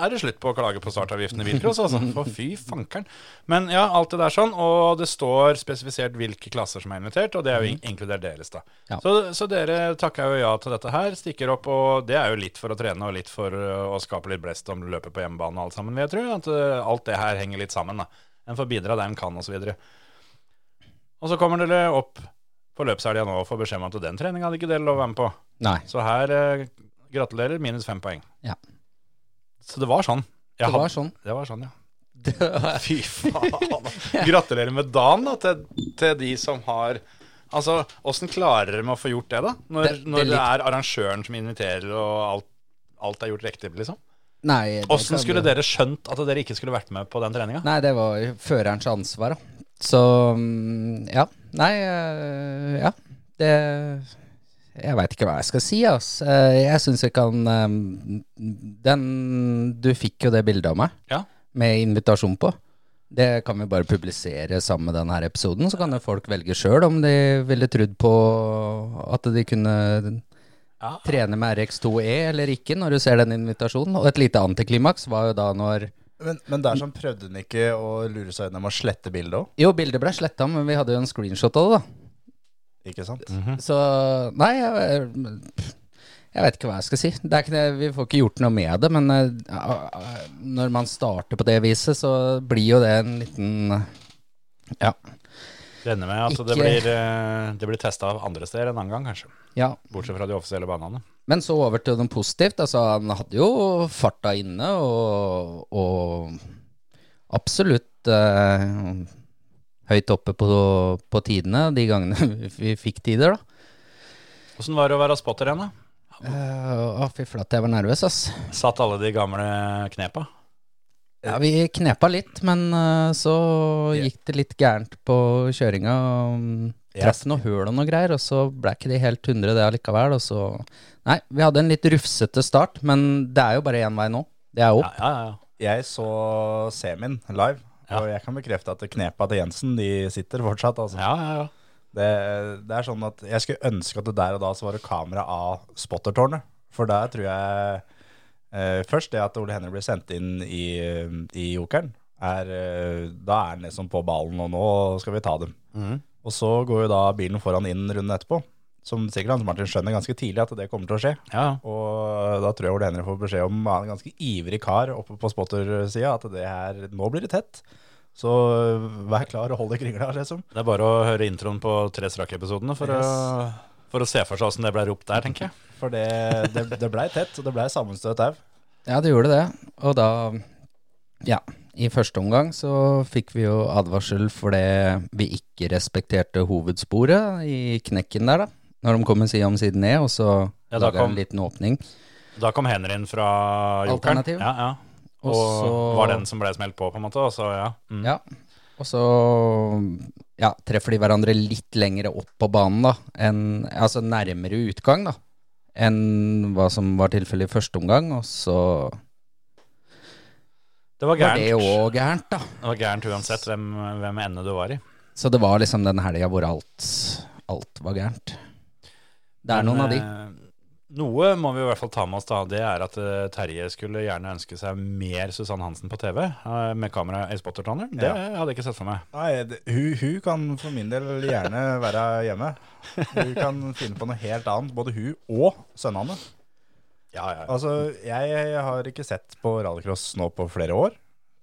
S3: er det slutt på å klage på startavgiften i bilcross, altså. For fy fankeren. Men ja, alt det der sånn. Og det står spesifisert hvilke klasser som er invitert, og det er jo in- inkludert deres, da.
S5: Ja.
S3: Så, så dere takker jo ja til dette her, stikker opp, og det er jo litt for å trene og litt for uh, å skape litt blest om løpet på hjemmebane og alt sammen, vil jeg tro. At uh, alt det her henger litt sammen, da. En får bidra der en kan, osv. Og så kommer dere opp på løpshelga nå og får beskjed om at den treninga hadde ikke dere lov å være med på.
S5: Nei.
S3: Så her eh, gratulerer, minus fem poeng.
S5: Ja.
S3: Så det var sånn. Jeg
S5: Det var
S3: hadde-
S5: sånn. <laughs>
S3: det var sånn, ja.
S5: Det var-
S3: Fy faen. Gratulerer med dagen da, til, til de som har Altså, åssen klarer de å få gjort det, da? Når det,
S5: Det- det er
S3: når det
S5: litt-
S3: er arrangøren som inviterer, og alt, alt er gjort riktig, liksom?
S5: Nei, det kan
S3: Åssen skulle
S5: du-
S3: dere skjønt at dere ikke skulle vært med på den treninga?
S5: Nei, det var førerens ansvar, da. Så mm, ja. Nei, øh, ja. Det Jeg veit ikke hva jeg skal si, ass. Eh, Jeg syns vi kan eh, Den Du fikk jo det bildet av meg
S3: Ja.
S5: med invitasjon på. Det kan vi bare publisere sammen med denne episoden, så kan jo folk velge sjøl om de ville trodd på at de kunne
S3: Ja.
S5: trene med RX2E E eller ikke, når du ser den invitasjonen. Og et lite antiklimaks var jo da når
S4: Men, men der sånn prøvde han ikke å lure seg gjennom å slette bildet òg,
S5: Jo, bildet ble sletta, men vi hadde jo en screenshot av det, da.
S4: ikke sant?
S3: Mm.
S5: Så Nei, jeg, jeg vet ikke hva jeg skal si. Det er ikke det, vi får ikke gjort noe med det, men eh, når man starter på det viset, så blir jo det en liten Ja.
S3: Det ender med at det
S5: Ikke-
S3: blir, eh, det blir testa andre steder en annen gang, kanskje.
S5: ja.
S3: Bortsett fra de offisielle banene.
S5: Men så over til noe positivt. Altså, han hadde jo farta inne, og, og absolutt eh, høyt oppe på, på tidene de gangene <laughs> vi fikk tider, da.
S3: Åssen var det å være spotter igjen, da?
S5: Eh, Å, fy flate, jeg var nervøs, ass.
S3: Satt alle de gamle knepa?
S5: Ja, vi knepa litt, men eh, så gikk det litt gærent på kjøringa. Um,
S3: Ja.
S5: Traff noe høl og noe greier, og så ble ikke det helt 100 det allikevel. Og så Nei, vi hadde en litt rufsete start, men det er jo bare én vei nå. Det er
S3: Ja,
S5: opp.
S3: ja, ja.
S4: Jeg så semien live,
S3: Ja.
S4: og jeg kan bekrefte at knepa til Jensen de sitter fortsatt. Altså.
S3: ja, ja, ja.
S4: Det, det er sånn at Jeg skulle ønske at det der og da så var det kamera av spottertårnet. For der tror jeg eh, Først det at Ole Henry ble sendt inn i, i jokeren, er, eh, da er han liksom på ballen, og nå skal vi ta dem.
S3: Mm.
S4: Og så går jo da bilen foran inn runden etterpå. Som sikkert Hans Martin skjønner ganske tidlig at det kommer til å skje.
S3: ja.
S4: Og da tror jeg Ole Henry får beskjed om av en ganske ivrig kar oppe på spottersida at det her, nå blir det tett. Så vær klar og hold i kringla, liksom.
S3: Det er bare å høre introen på tre strake-episodene for, å- for å se for seg åssen det ble ropt der, tenker jeg.
S4: For det, det, det blei tett, og det blei sammenstøt au.
S5: Ja, det gjorde det. Og da Ja. I første omgang så fikk vi jo advarsel fordi vi ikke respekterte hovedsporet i knekken der, da. Når de kom en side om side ned, og så
S3: Ja, da
S5: laga
S3: kom-
S5: en liten åpning.
S3: Da kom Henry inn fra jokeren.
S5: Alternativ.
S3: Ja, ja. Og,
S5: Og så-
S3: var den som ble smelt på, på en måte. Og så, ja. Mm.
S5: Ja, og så ja, treffer de hverandre litt lengre opp på banen, da. enn- altså nærmere utgang, da. Enn hva som var tilfellet i første omgang. Og så
S3: Det var
S5: var
S3: gærent.
S5: det
S3: Det,
S5: òg gærent, da.
S3: var gærent uansett hvem, hvem ende du var i.
S5: Så det var liksom den helga hvor alt, alt var gærent. Det er
S3: Men,
S5: noen av de.
S3: eh, Noe må vi i hvert fall ta med oss, da. Det er at eh, Terje skulle gjerne ønske seg mer Susann Hansen på TV eh, med kamera i spottertonner. Det
S4: Ja.
S3: hadde jeg ikke sett for meg.
S4: Nei, det, hun, hun kan for min del gjerne være hjemme. Hun kan finne på noe helt annet, både hun og sønnene.
S3: Ja, ja.
S4: Altså, jeg har ikke sett på rallycross nå på flere år,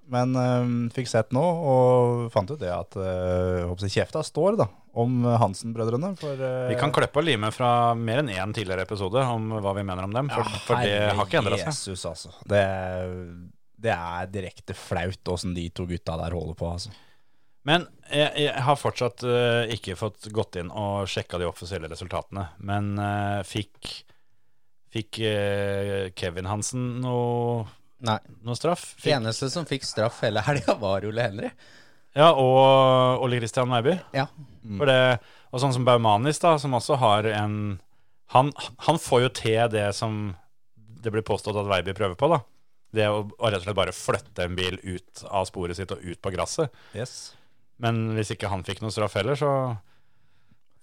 S4: men øhm, fikk sett nå og fant ut det at øh, håper jeg kjefta står da, om Hansen-brødrene. For øh,
S3: Vi kan klippe og lime fra mer enn én tidligere episode om hva vi mener om dem, for,
S4: Ah,
S3: for det har ikke endra seg.
S4: Jesus, altså. Det, det er direkte flaut åssen de to gutta der holder på, altså.
S3: Men jeg, jeg har fortsatt eh, ikke fått gått inn og sjekka de offisielle resultatene. Men eh, fikk, fikk eh, Kevin Hansen noe,
S5: Nei.
S3: noe straff?
S5: Det
S3: Fikk,
S5: eneste som fikk straff hele helga, var Ole Henry.
S3: ja, og Ole Christian Weiby.
S5: Ja.
S3: Mm. For det- Og sånn som Baumanis, da, som også har en Han, han får jo til det som det blir påstått at Weiby prøver på, da. Det å, å rett og slett bare flytte en bil ut av sporet sitt og ut på gresset.
S4: Yes.
S3: Men hvis ikke han fikk noen straff heller, så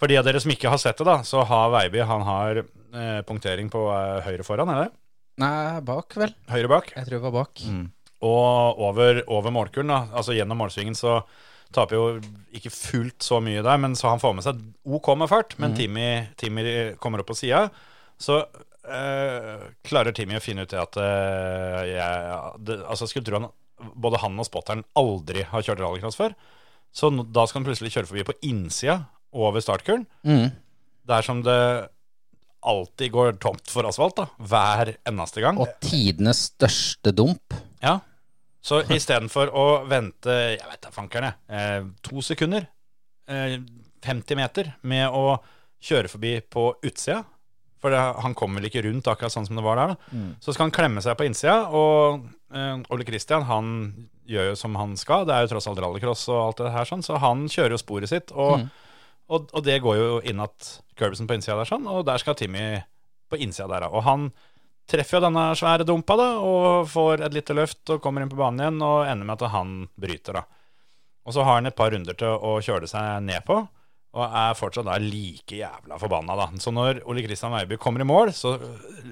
S3: For de av dere som ikke har sett det, da, så har Veiby han har eh, punktering på eh, høyre foran, er det?
S5: Nei, bak, vel.
S3: høyre bak.
S5: Jeg tror jeg var bak.
S3: Mm. Og over, over målkulen, da, altså gjennom målsvingen, så taper jo ikke fullt så mye der, men så han får med seg OK med fart, men Timmy, Timmy eh, kommer opp på sida. Så eh, klarer Timmy å finne ut det at eh, jeg, det, Altså, jeg skulle tro han både han og spotteren aldri har kjørt rallycross før. Så nå- da skal han plutselig kjøre forbi på innsida over startkulen.
S5: Mm.
S3: Der som det alltid går tomt for asfalt, da. Hver eneste gang.
S5: Og tidenes største dump.
S3: Ja. Så istedenfor å vente jeg vet da, fankeren jeg, eh, to sekunder, eh, 50 meter, med å kjøre forbi på utsida For det, han kom vel ikke rundt akkurat sånn som det var der. da. Så skal han klemme seg på innsida, og eh, Ole Christian han gjør jo som han skal. Det er jo tross alt rallycross og alt det her sånn, så han kjører jo sporet sitt. Og, og, og det går jo inn at Curbsen på innsida der sånn, og der skal Timmy på innsida der. da. Og han treffer jo denne svære dumpa da, og får et lite løft og kommer inn på banen igjen og ender med at han bryter. da. Og så har han et par runder til å kjøle seg ned på, og er fortsatt da like jævla forbanna. da. Så når Ole Kristian Veiby kommer i mål, så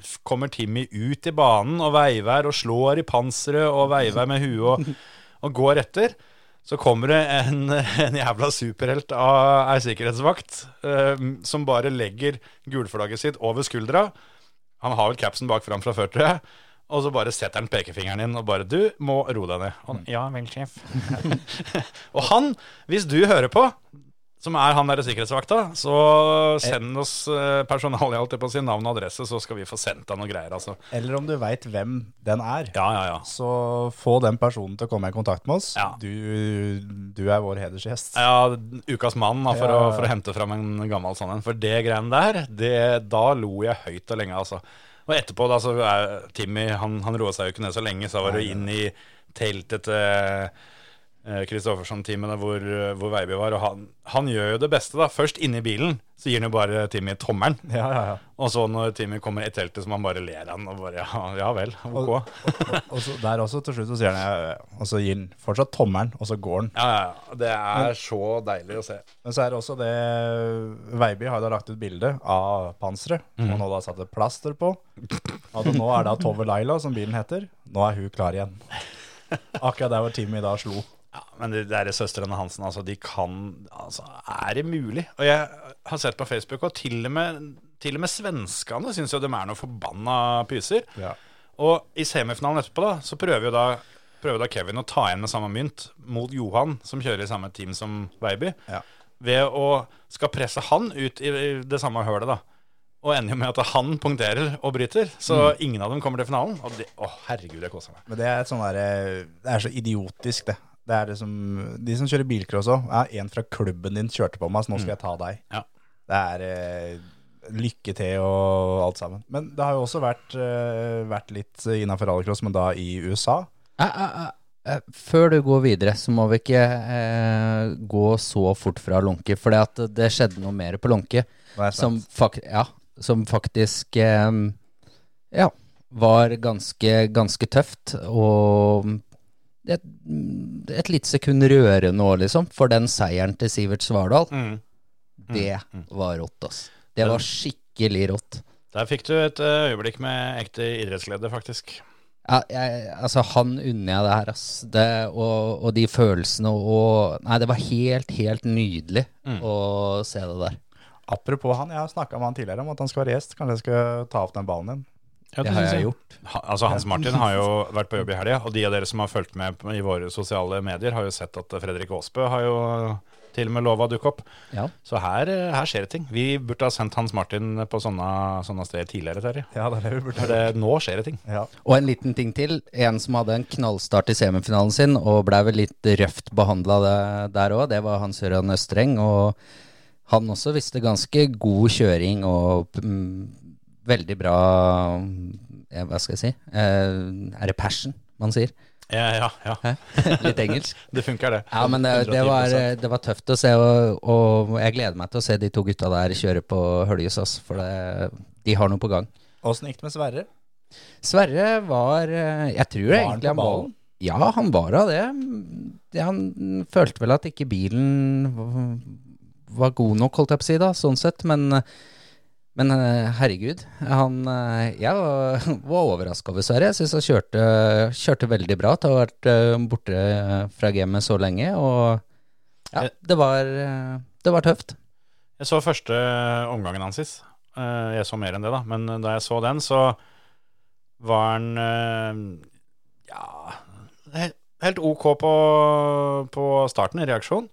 S3: f- kommer Timmy ut i banen og veiver og slår i panseret og veiver med huet og, og går etter. Så kommer det en, en jævla superhelt av ei sikkerhetsvakt eh, som bare legger gulflagget sitt over skuldra. Han har vel capsen bak fram fra før, tror jeg. Og så bare setter han pekefingeren inn og bare 'Du må roe deg ned'. Og han, ja vel, sjef. <laughs> og han, hvis du hører på, som er han der sikkerhetsvakta, så send oss eh, personalet, jeg holdt på å si, navn og adresse, så skal vi få sendt deg noe greier, altså.
S4: Eller om du veit hvem den er.
S3: Ja, ja, ja.
S4: Så få den personen til å komme i kontakt med oss.
S3: Ja.
S4: Du, du er vår hedersgjest.
S3: Ja, Ukas mann, da, for,
S4: Ja, ja,
S3: Å,
S4: ja.
S3: for å hente fram en gammel sånn en. For det greiene der, det, da lo jeg høyt og lenge, altså. Og etterpå, da, så er Timmy Han, han roa seg jo ikke ned så lenge, så var det jo inn i teltet til eh, Kristoffersen-teamet der hvor, hvor Veiby var. Og han, han gjør jo det beste, da. Først inne i bilen, så gir han jo bare Timmy tommelen.
S4: Ja, ja, ja.
S3: Og så når Timmy kommer i teltet, så må han bare ler av han og bare ja, ja vel,
S4: Og,
S3: ok.
S4: og, og, og så der også, til slutt, så sier han ja, ja, Og så gir han fortsatt tommelen, og så går han.
S3: <laughs> Ja, ja, ja. Det er så deilig å se.
S4: Men så er det også det eh, Veiby har jo da lagt ut bilde av panseret, som han nå da satte plaster på. Altså nå er da Tove Laila, som bilen heter, nå er hun klar igjen. Akkurat der hvor Timmy da slo.
S3: Ja, men de der søstrene Hansen, altså, de kan Altså, er det mulig? Og jeg har sett på Facebook, og til og med, til og med svenskene syns jo de er noen forbanna pyser.
S4: Ja.
S3: Og i semifinalen etterpå, da, så prøver jo da Prøver da Kevin å ta igjen med samme mynt mot Johan, som kjører i samme team som Baby,
S4: Ja.
S3: ved å skal presse han ut i i det samme hølet, da. Og ender jo med at han punkterer og bryter, så ingen av dem kommer til finalen. Mm. Og det, å, herregud, jeg koser meg.
S4: Men det er et sånn derre Det er så idiotisk, det. Det er liksom De som kjører bilcross òg. Ja, en fra klubben din kjørte på meg, så nå skal jeg ta deg.
S3: Ja.
S4: Det er eh, lykke til og alt sammen. Men det har jo også vært, eh, vært litt innafor rallycross, men da i USA.
S5: Eh, eh, eh, eh, Før du går videre, så må vi ikke eh, gå så fort fra Lånke. For det, at det skjedde noe mer på Lånke
S4: Nå er jeg
S5: som,
S4: spent.
S5: fak ja, som faktisk eh, ja, var ganske, ganske tøft. Og et, et lite sekund rørende òg, liksom. For den seieren til Sivert Svardal, det var rått, ass. Det var skikkelig rått.
S3: Der fikk du et eh, øyeblikk med ekte idrettsglede, faktisk.
S5: Ja, jeg, altså Han unner jeg det her, ass. Det, og, og de følelsene og Nei, det var helt, helt nydelig å se det der.
S4: Apropos han, jeg har snakka med han tidligere om at han skal være gjest. Kanskje jeg skal ta opp den ballen din?
S3: Ja,
S5: Det har jeg gjort.
S3: Ha- Altså Hans Martin har jo vært på jobb i helga, og de av dere som har fulgt med på- i våre sosiale medier, har jo sett at Fredrik Aasbø har jo til og med lova å dukke opp.
S5: Ja.
S3: Så her, eh, her skjer det ting. Vi burde ha sendt Hans Martin på sånne, sånne steder tidligere, Terje.
S4: Ja, det er det vi
S3: For
S4: burde
S3: det- nå skjer det ting.
S4: ja.
S5: Og en liten ting til. En som hadde en knallstart i semifinalen sin, og blei vel litt røft behandla der òg, det var Hans Jørgen Østreng. Og han også visste ganske god kjøring og mm, veldig bra mm, ja, Hva skal jeg si? Eh, er det passion man sier?
S3: Ja, ja. ja.
S5: litt engelsk.
S3: Det funker, det.
S5: Ja, men det, det, var,
S3: 110%.
S5: det var tøft å se, og, og jeg gleder meg til å se de to gutta der kjøre på Høljes, ass, for det, de har noe på gang.
S4: Åssen gikk det med Sverre?
S5: Sverre var eh, Jeg tror
S4: Var han
S5: egentlig
S4: på
S5: han var
S4: ballen?
S5: Ja, han var av det. Det- Han følte vel at ikke bilen v- var god nok, holdt jeg på å si, da, sånn sett, men Men eh, herregud, han eh, Jeg var, <laughs> var overraska over Sverre. Jeg syns han kjørte, kjørte veldig bra. til å ha vært eh, borte fra gamet så lenge, og ja,
S3: Jeg-
S5: det var, eh, det var tøft.
S3: Jeg så første omgangen hans sist. Eh, Jeg så mer enn det, da. Men eh, da jeg så den, så var han eh, ja he- helt OK på, på starten, i reaksjon.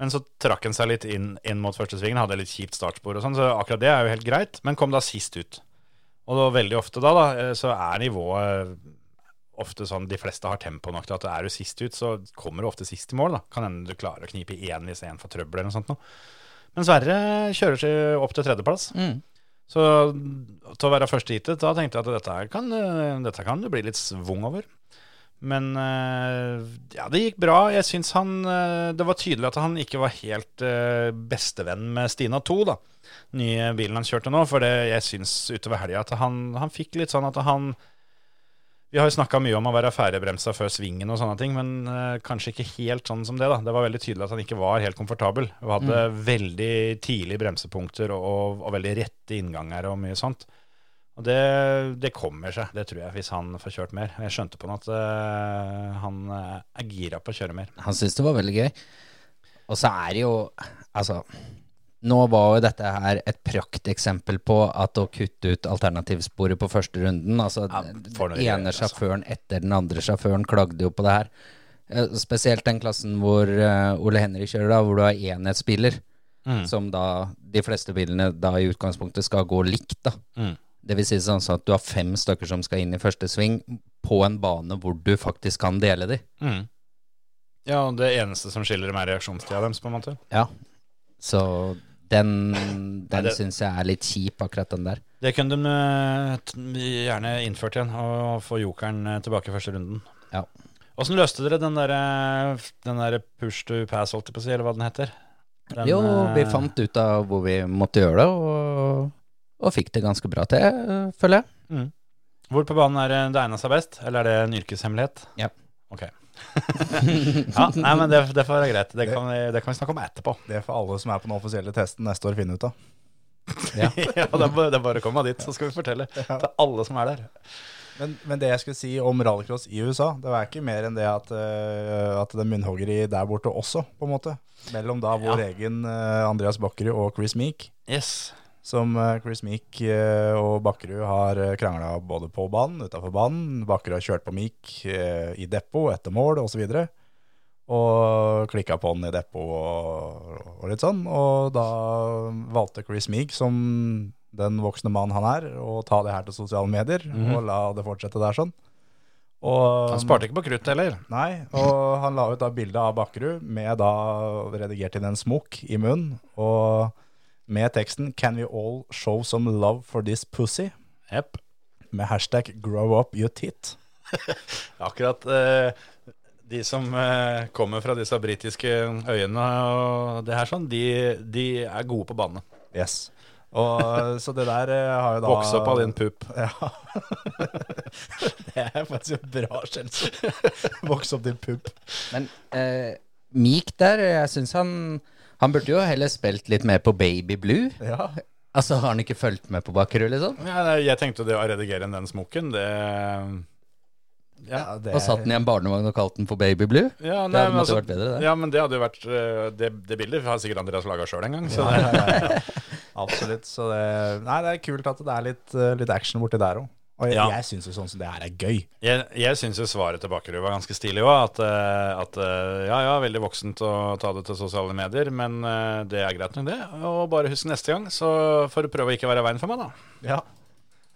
S3: Men så trakk han seg litt inn, inn mot første svingen, hadde litt kjipt startspor og sånn, så akkurat det er jo helt greit. Men kom da sist ut. Og da, veldig ofte da, da, eh, så er nivået ofte sånn De fleste har tempo nok til at er du sist ut, så kommer du ofte sist i mål, da. Kan hende du klarer å knipe i én hvis én får trøbbel eller noe sånt noe. Men Sverre kjører seg opp til tredjeplass.
S5: Mm.
S3: Så til å være første heatet, da tenkte jeg at dette her kan, eh, dette kan det bli litt svung over. Men eh, ja, det gikk bra. Jeg syns han eh, Det var tydelig at han ikke var helt eh, bestevenn med Stina 2, da. Nye bilen han kjørte nå. For det, jeg syns utover helga at han, han fikk litt sånn at han Vi har jo snakka mye om å være ferdigbremsa før svingen og sånne ting, men eh, kanskje ikke helt sånn som det, da. Det var veldig tydelig at han ikke var helt komfortabel. Og hadde veldig tidlige bremsepunkter og, og, og veldig rette innganger og mye sånt. Og det, det kommer seg, det tror jeg, hvis han får kjørt mer. Jeg skjønte på han at eh, han eh, er gira på å kjøre mer.
S5: Han syntes det var veldig gøy. Og så er det jo Altså, nå var jo dette her et prakteksempel på at å kutte ut alternativsporet på første runden Altså,
S3: Ja, for noe
S5: den ene
S3: greier, altså.
S5: sjåføren etter den andre sjåføren klagde jo på det her. Eh, Spesielt den klassen hvor eh, Ole Henry kjører, da, hvor du har enhetsbiler.
S3: Mm.
S5: Som da de fleste bilene da i utgangspunktet skal gå likt, da.
S3: Mm.
S5: Det vil si sånn at du har fem stykker som skal inn i første sving på en bane hvor du faktisk kan dele de.
S3: Ja, og det eneste som skiller dem, er reaksjonstida deres, på en måte.
S5: Ja. Så den, den
S3: det-
S5: syns jeg er litt kjip, akkurat den der.
S3: Det kunne de eh, t- gjerne innført igjen, og få jokeren eh, tilbake i første runden.
S5: Ja.
S3: Åssen løste dere den derre der push to pass, holdt jeg på å si, eller hva den heter? Den,
S5: jo, vi
S3: eh,
S5: fant ut av hvor vi måtte gjøre det, og, og fikk det ganske bra til, øh, føler jeg.
S3: Hvor på banen er det det egna seg best, eller er det en yrkeshemmelighet?
S5: Ja.
S3: Ok. <laughs> ja, nei, men det, det får være greit. Det kan, vi, det kan vi snakke om etterpå.
S4: Det får alle som er på den offisielle testen neste år finne ut av.
S5: Ja.
S3: <laughs> ja, det er bare- det er bare å komme dit, så skal vi fortelle til alle som er der.
S4: Men, men det jeg skulle si om rallycross i USA, det var ikke mer enn det at, eh, at det er munnhoggeri der borte også, på en måte. Mellom da vår egen eh, Andreas Bakkerud og Chris Meek.
S3: Yes.
S4: Som eh, Chris Meek eh, og Bakkerud har eh, krangla både på banen, utafor banen. Bakkerud har kjørt på Meek eh, i depot, etter mål osv. Og, og klikka på han i depot og, og litt sånn. Og da valgte Chris Meek, som den voksne mann han er, å ta det her til sosiale medier og la det fortsette der sånn. Og,
S3: Han sparte ikke på krutt heller.
S4: Nei, og han la ut da bildet av Bakkerud med da redigert inn en smokk i munnen, og med teksten 'Can we all show some love for this pussy?'
S3: Jepp.
S4: med hashtag 'grow up your tit'.
S3: <laughs> Akkurat eh, de som eh, kommer fra disse britiske øyene og det her sånn, de, de er gode på banene.
S4: Yes. Og så det der eh, har jo da
S3: Vokse opp <laughs> av din pup.
S4: Ja. det er faktisk et bra skjellsord. <laughs> Vokse opp din pupp.
S5: Men øh, Meek der, jeg syns han Han burde jo heller spilt litt mer på Baby Blue.
S4: Ja.
S5: Altså, har han ikke fulgt med på Bakkerud, liksom?
S3: Ja, nei, jeg tenkte det å redigere den smokken, det
S4: ja, det
S5: Og <laughs> satt den i en barnevogn og kalt den for Baby Blue?
S3: ja,
S5: Det
S3: nei,
S5: hadde
S3: men
S5: måtte
S3: altså-
S5: vært bedre, det.
S3: Ja, men det hadde jo vært eh, Det, det bildet har sikkert Andreas laga sjøl en gang. Så
S4: Ja, ja, ja, ja. Absolutt. Så det, nei, det er kult at det er litt, eh, litt action borti der òg. Og jeg,
S3: Ja.
S4: jeg syns jo sånn som det her er gøy.
S3: Jeg, jeg syns jo svaret til Bakkerud var ganske stilig òg. At, eh, at eh, ja, ja, veldig voksent å ta det til sosiale medier, men eh, det er greit nok, det. Og bare husk neste gang, så får du prøve å ikke være i veien for meg, da.
S4: <laughs> Ja.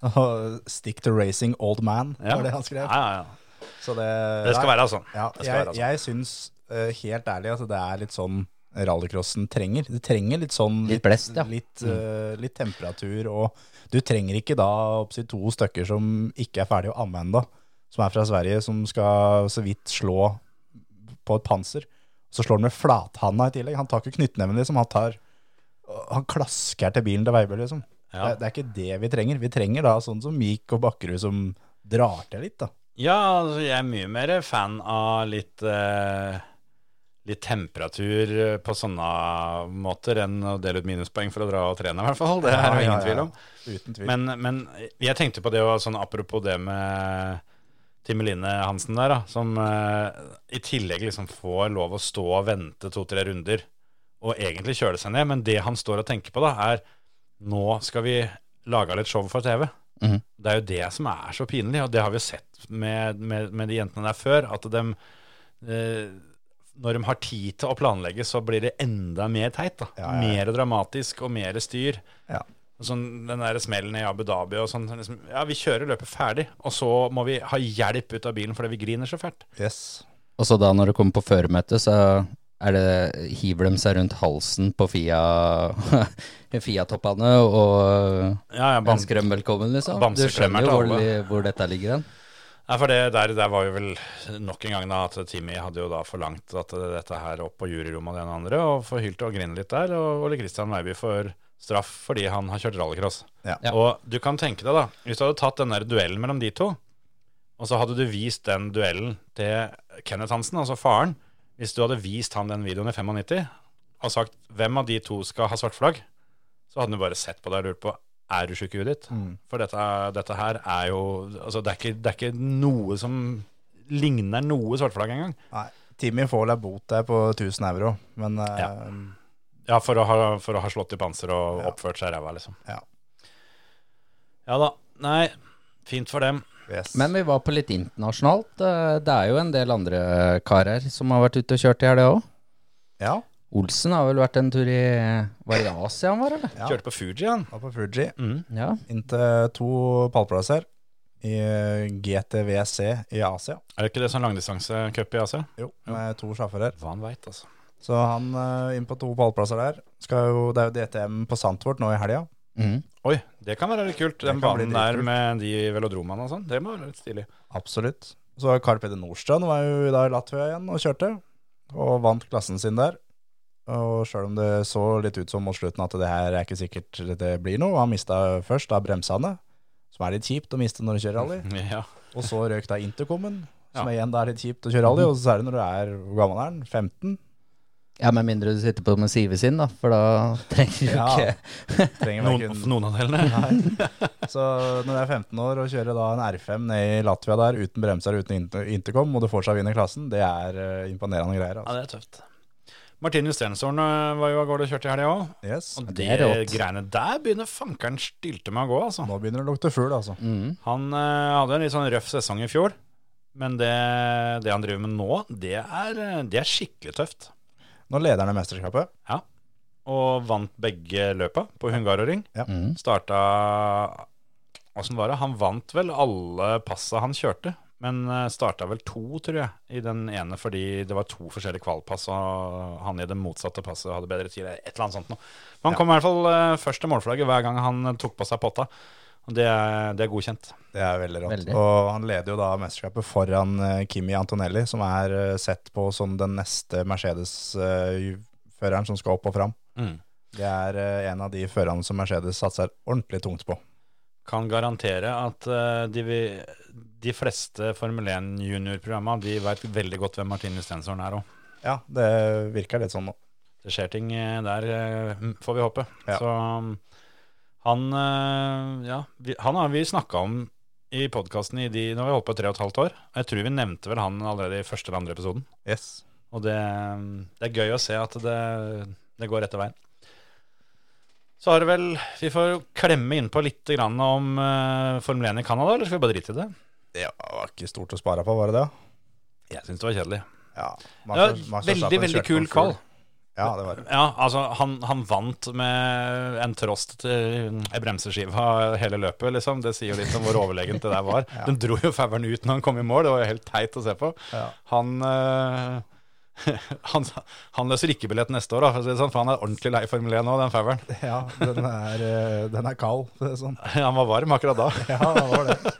S4: Og Stick to racing old man,
S3: Ja.
S4: var det han skrev.
S3: Ja, ja, ja.
S4: Så det,
S3: Det skal
S4: nei.
S3: være sånn.
S4: Ja,
S3: det skal
S4: jeg
S3: være sånn.
S4: jeg syns eh, helt ærlig at det er litt sånn rallycrossen trenger. Det trenger litt sånn
S5: Litt blest, ja.
S4: litt,
S3: Mm.
S4: eh, litt temperatur, og du trenger ikke da oppsi to stykker som ikke er ferdig å amme ennå, som er fra Sverige, som skal så vidt slå på et panser. Så slår han med flathanda i tillegg. Han tar ikke knyttneven, liksom. Han tar han klasker til bilen til veibø, liksom.
S3: Ja.
S4: Det, det er ikke det vi trenger. Vi trenger da sånn som Mik og Bakkerud som drar til litt, da.
S3: Ja, altså, jeg er mye mer fan av litt eh, litt temperatur eh, på sånne måter enn å dele ut minuspoeng for å dra og trene, i hvert fall. Det er det ingen tvil om.
S4: Uten tvil.
S3: Men, men jeg tenkte på det og sånn apropos det med Timeline Hansen der, da, som eh, i tillegg liksom får lov å stå og vente to-tre runder og egentlig kjøle seg ned. Men det han står og tenker på, da, er nå skal vi lage litt show for TV.
S5: Mhm.
S3: Det er jo det som er så pinlig, og det har vi jo sett med, med, med de jentene der før. At de, eh, når de har tid til å planlegge, så blir det enda mer teit. da.
S4: Ja, ja, ja.
S3: Mer dramatisk og mer styr.
S4: Ja.
S3: Og Sånn, den der smellen i Abu Dhabi og sånn. sånn Liksom, ja, vi kjører løpet ferdig, og så må vi ha hjelp ut av bilen fordi vi griner så fælt.
S4: Yes.
S5: Og så da når det kommer på føremøte, så er det, hiver de seg rundt halsen på Fia- <laughs> Fia-toppene og
S3: Ja, ja, ban-
S5: ønsker dem velkommen, liksom. Du skjønner
S3: Bamseklemmer
S5: jo hvor,
S3: til alle.
S5: li- hvor dette ligger hen.
S3: Nei, for det der, der var jo vel nok en gang da at Timmy hadde jo da forlangt at dette her opp på juryrommet og det ene og andre, og forhylte og grine litt der, og Ole Kristian Weiby får straff fordi han har kjørt rallycross.
S4: Ja.
S5: Ja.
S3: Og du kan tenke deg da, hvis du hadde tatt den der duellen mellom de to, og så hadde du vist den duellen til Kenneth Hansen, altså faren, hvis du hadde vist han den videoen i 95, og sagt hvem av de to skal ha svart flagg, så hadde han jo bare sett på deg og lurt på er du sjuk i huet ditt?
S4: Mm.
S3: For dette, dette her er jo altså det, er ikke, det er ikke noe som ligner noe svartflagg engang.
S4: Nei. Timmy får vel ei bot der på 1000 euro, men eh,
S3: Ja. Ja, for å ha, for å ha slått i panser og oppført seg ræva, liksom.
S4: Ja.
S3: Ja da. Nei, fint for dem.
S4: yes.
S5: Men vi var på litt internasjonalt. Eh, Det er jo en del andre karer som har vært ute og kjørt i helga òg.
S4: Ja,
S5: Olsen har vel vært en tur i Var det i Asia han var, eller?
S4: Ja.
S3: Kjørte på Fuji, han.
S4: var på Fuji.
S5: Ja.
S4: Inntil to pallplasser i eh, GTWC i Asia.
S3: Er det ikke det sånn langdistansecup i Asia?
S4: Jo, med to sjåfører.
S3: Hva han veit, altså.
S4: Så han eh, inn på to pallplasser der. Skal jo, det er jo DTM på Santvort nå i helga.
S5: Mm.
S3: Oi, det kan være litt kult. Den
S4: kan bli
S3: banen der
S4: dritkult.
S3: med de velodromene og sånn. Det må være litt stilig.
S4: Absolutt. Så Carl Peder Nordstrand var jo da i Latvia igjen og kjørte, og vant klassen sin der. Og sjøl om det så litt ut som mot slutten at det her er ikke sikkert det blir noe, han mista først da bremsene, som er litt kjipt å miste når du kjører
S3: <laughs>
S4: rally,
S3: Ja.
S4: og så røyk da intercomen, som igjen da er litt kjipt å kjøre rally, og så er det når du er Hvor gammel er den?
S3: <laughs>
S4: 15?
S5: ja, med mindre du sitter på med Sive sin, da, for da <laughs> trenger du
S4: Ja.
S5: ikke
S4: Trenger
S3: Noen,
S4: hverken-
S3: noen av delene.
S4: <laughs> Så når du er 15 år og kjører da en R5 ned i Latvia der uten bremser uten inter intercom, og du fortsatt vinner klassen, det er eh, imponerende greier.
S3: Ja,
S4: Altså.
S3: det er tøft. Martinus Stensåren eh, var jo av gårde og kjørte i helga òg.
S4: Yes.
S3: Og
S5: det
S3: det
S5: er rått.
S3: eh, greiene der begynner fankeren stilte med å gå, altså.
S4: Nå begynner det å lukte fugl, altså.
S5: mm.
S3: Han eh, hadde en litt sånn røff sesong i fjor, men det, det han driver med nå, det er, eh, det er skikkelig tøft.
S4: Nå leder han i mesterskapet.
S3: Og vant begge løpa på Hungaroring.
S5: Mm.
S3: Starta Åssen var det? Han vant vel alle passa han kjørte, men eh, starta vel to, tror jeg, i den ene fordi det var to forskjellige kvalpass, og han i det motsatte passet hadde bedre tid. Et eller annet sånt noe. Men han kom i hvert fall eh, først til målflagget hver gang han eh, tok på seg potta. Og det er, det er godkjent.
S4: Det er veldig rått.
S5: Veldig.
S4: Og han leder jo da mesterskapet foran eh, Kimi Antonelli, som er eh, sett på som den neste Mercedes-føreren som skal opp og fram.
S3: Mm.
S4: Det er eh, en av de førerne som Mercedes satser ordentlig tungt på.
S3: kan garantere at eh, de, vi- de fleste Formel 1 junior-programma De vet veldig godt hvem Martinus Stensson er òg.
S4: Ja, det virker litt sånn nå.
S3: Det skjer ting eh, der, eh, mm, får vi håpe.
S4: Ja.
S3: Så um, han eh, Ja, vi, han har vi snakka om i podkasten i de Nå har vi holdt på i tre og et halvt år. Og jeg tror vi nevnte vel han allerede i første eller andre episoden.
S4: Yes.
S3: Og det, mm, det er gøy å se at det, det går rette veien. Så har det vel Vi får klemme innpå litt grann om eh, Formel 1 i Canada, eller skal vi bare drite i det?
S4: Det var ikke stort å spare på, var det det?
S3: Jeg syns det var kjedelig.
S4: Ja,
S3: Ja,
S4: Max- Max
S3: veldig,
S4: Verstappen
S3: veldig
S4: kjørte på en
S3: kul
S4: fugl.
S3: kall.
S4: Ja, det var det.
S3: Ja, altså, han, han vant med en trost til ei bremseskive hele løpet, liksom. Det sier jo litt om hvor overlegent det der var. Den dro jo fauren ut når han kom i mål, det var jo helt teit å se på.
S4: Ja.
S3: Han, eh, <laughs> han, han løser ikke billett neste år, da, for, å si det sånn, for han er ordentlig lei Formel 1 nå, den fauren. <laughs>
S4: Ja, den er, eh, den er kald. Det er sånn.
S3: Han var varm akkurat da.
S4: Ja, det var det.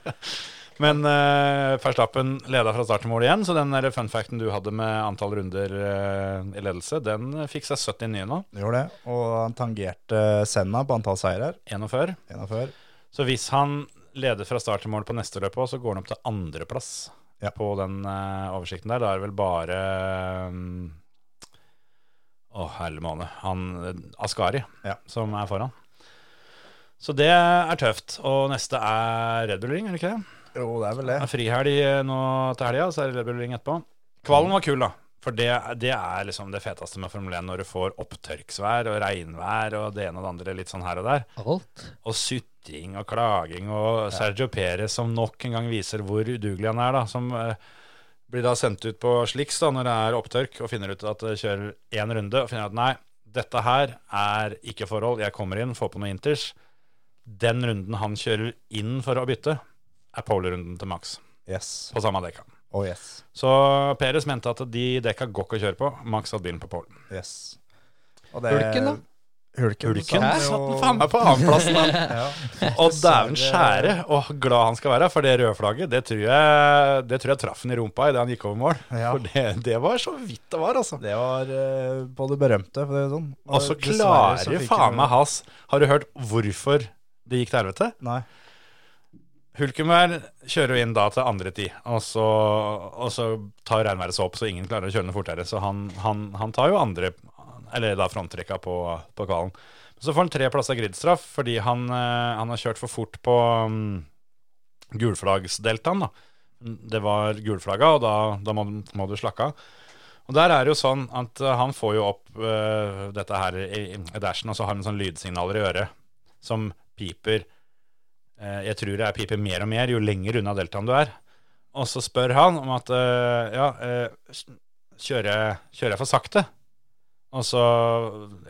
S3: Men uh, Verstappen leda fra start til mål igjen, så den der fun facten du hadde med antall runder eh, i ledelse, den fikk seg 79 nå.
S4: Det gjorde det. Og han tangerte Senna på antall seirer.
S3: 41.
S4: En av før.
S3: Så hvis han leder fra start til mål på neste løp òg, så går han opp til andreplass
S4: Ja.
S3: på den eh, oversikten der. Da er det vel bare um, Å, herre måne. Han eh, Askari
S4: Ja.
S3: som er foran. Så det er tøft. Og neste er Red Bull Ring, er det ikke det?
S4: Jo, det er vel det.
S3: Det er frihelg eh, nå til helga, så er det Red Bull Ring etterpå. Kvalen var kul, da. For det, det er liksom det feteste med Formel 1 når du får opptørksvær og regnvær og det ene og det andre litt sånn her og der.
S5: Alt.
S3: og sutting og klaging, og Sergio Perez som nok en gang viser hvor udugelig han er, da, som eh, blir da sendt ut på sliks da, når det er opptørk, og finner ut at det kjører én runde, og finner ut at nei, dette her er ikke forhold, jeg kommer inn, får på noe inters. Den runden han kjører inn for å bytte, er pole-runden til Max
S4: Yes.
S3: på samme dekka.
S4: Oh yes.
S3: Så Perez mente at de dekka går ikke å kjøre på. Max hadde bilen på polen.
S4: Yes. Og
S5: Hulken, da?
S4: Hulken,
S3: Hulken
S4: satt
S3: satt
S4: jo-
S3: den faen <laughs> meg på annenplassen, han.
S4: Ja.
S3: Og dæven skjære, og glad han skal være for det røde flagget. Det tror jeg, det tror jeg traff han i rumpa idet han gikk over mål.
S4: Ja.
S3: For det, det var så vidt det var, altså.
S4: Det var eh, på det berømte, for å si det sånn.
S3: Og så
S4: dessverre så
S3: klarer
S4: fikk
S3: faen
S4: hun-
S3: meg Has Har du hørt hvorfor det gikk til helvete?
S4: Nei.
S3: Hulkenberg kjører jo inn da til andre tid, og så, og så tar regnværet seg opp, så ingen klarer å kjøre noe fortere. Så han, han, han tar jo andre, eller da fronttrekka på, på kvalen. Så får han tre plasser gridstraff fordi han, eh, han har kjørt for fort på mm, gulflaggsdeltaen. da. Det var gulflagga, og da, da må, må du slakke av. Og der er det jo sånn at eh, han får jo opp eh, dette her i, i dashen, og så har han sånn lydsignaler i øret som piper Eh, Jeg tror det er piper mer og mer jo lenger unna deltaen du er. Og så spør han om at eh, ja, eh, s- kjører jeg, kjører jeg for sakte? Og så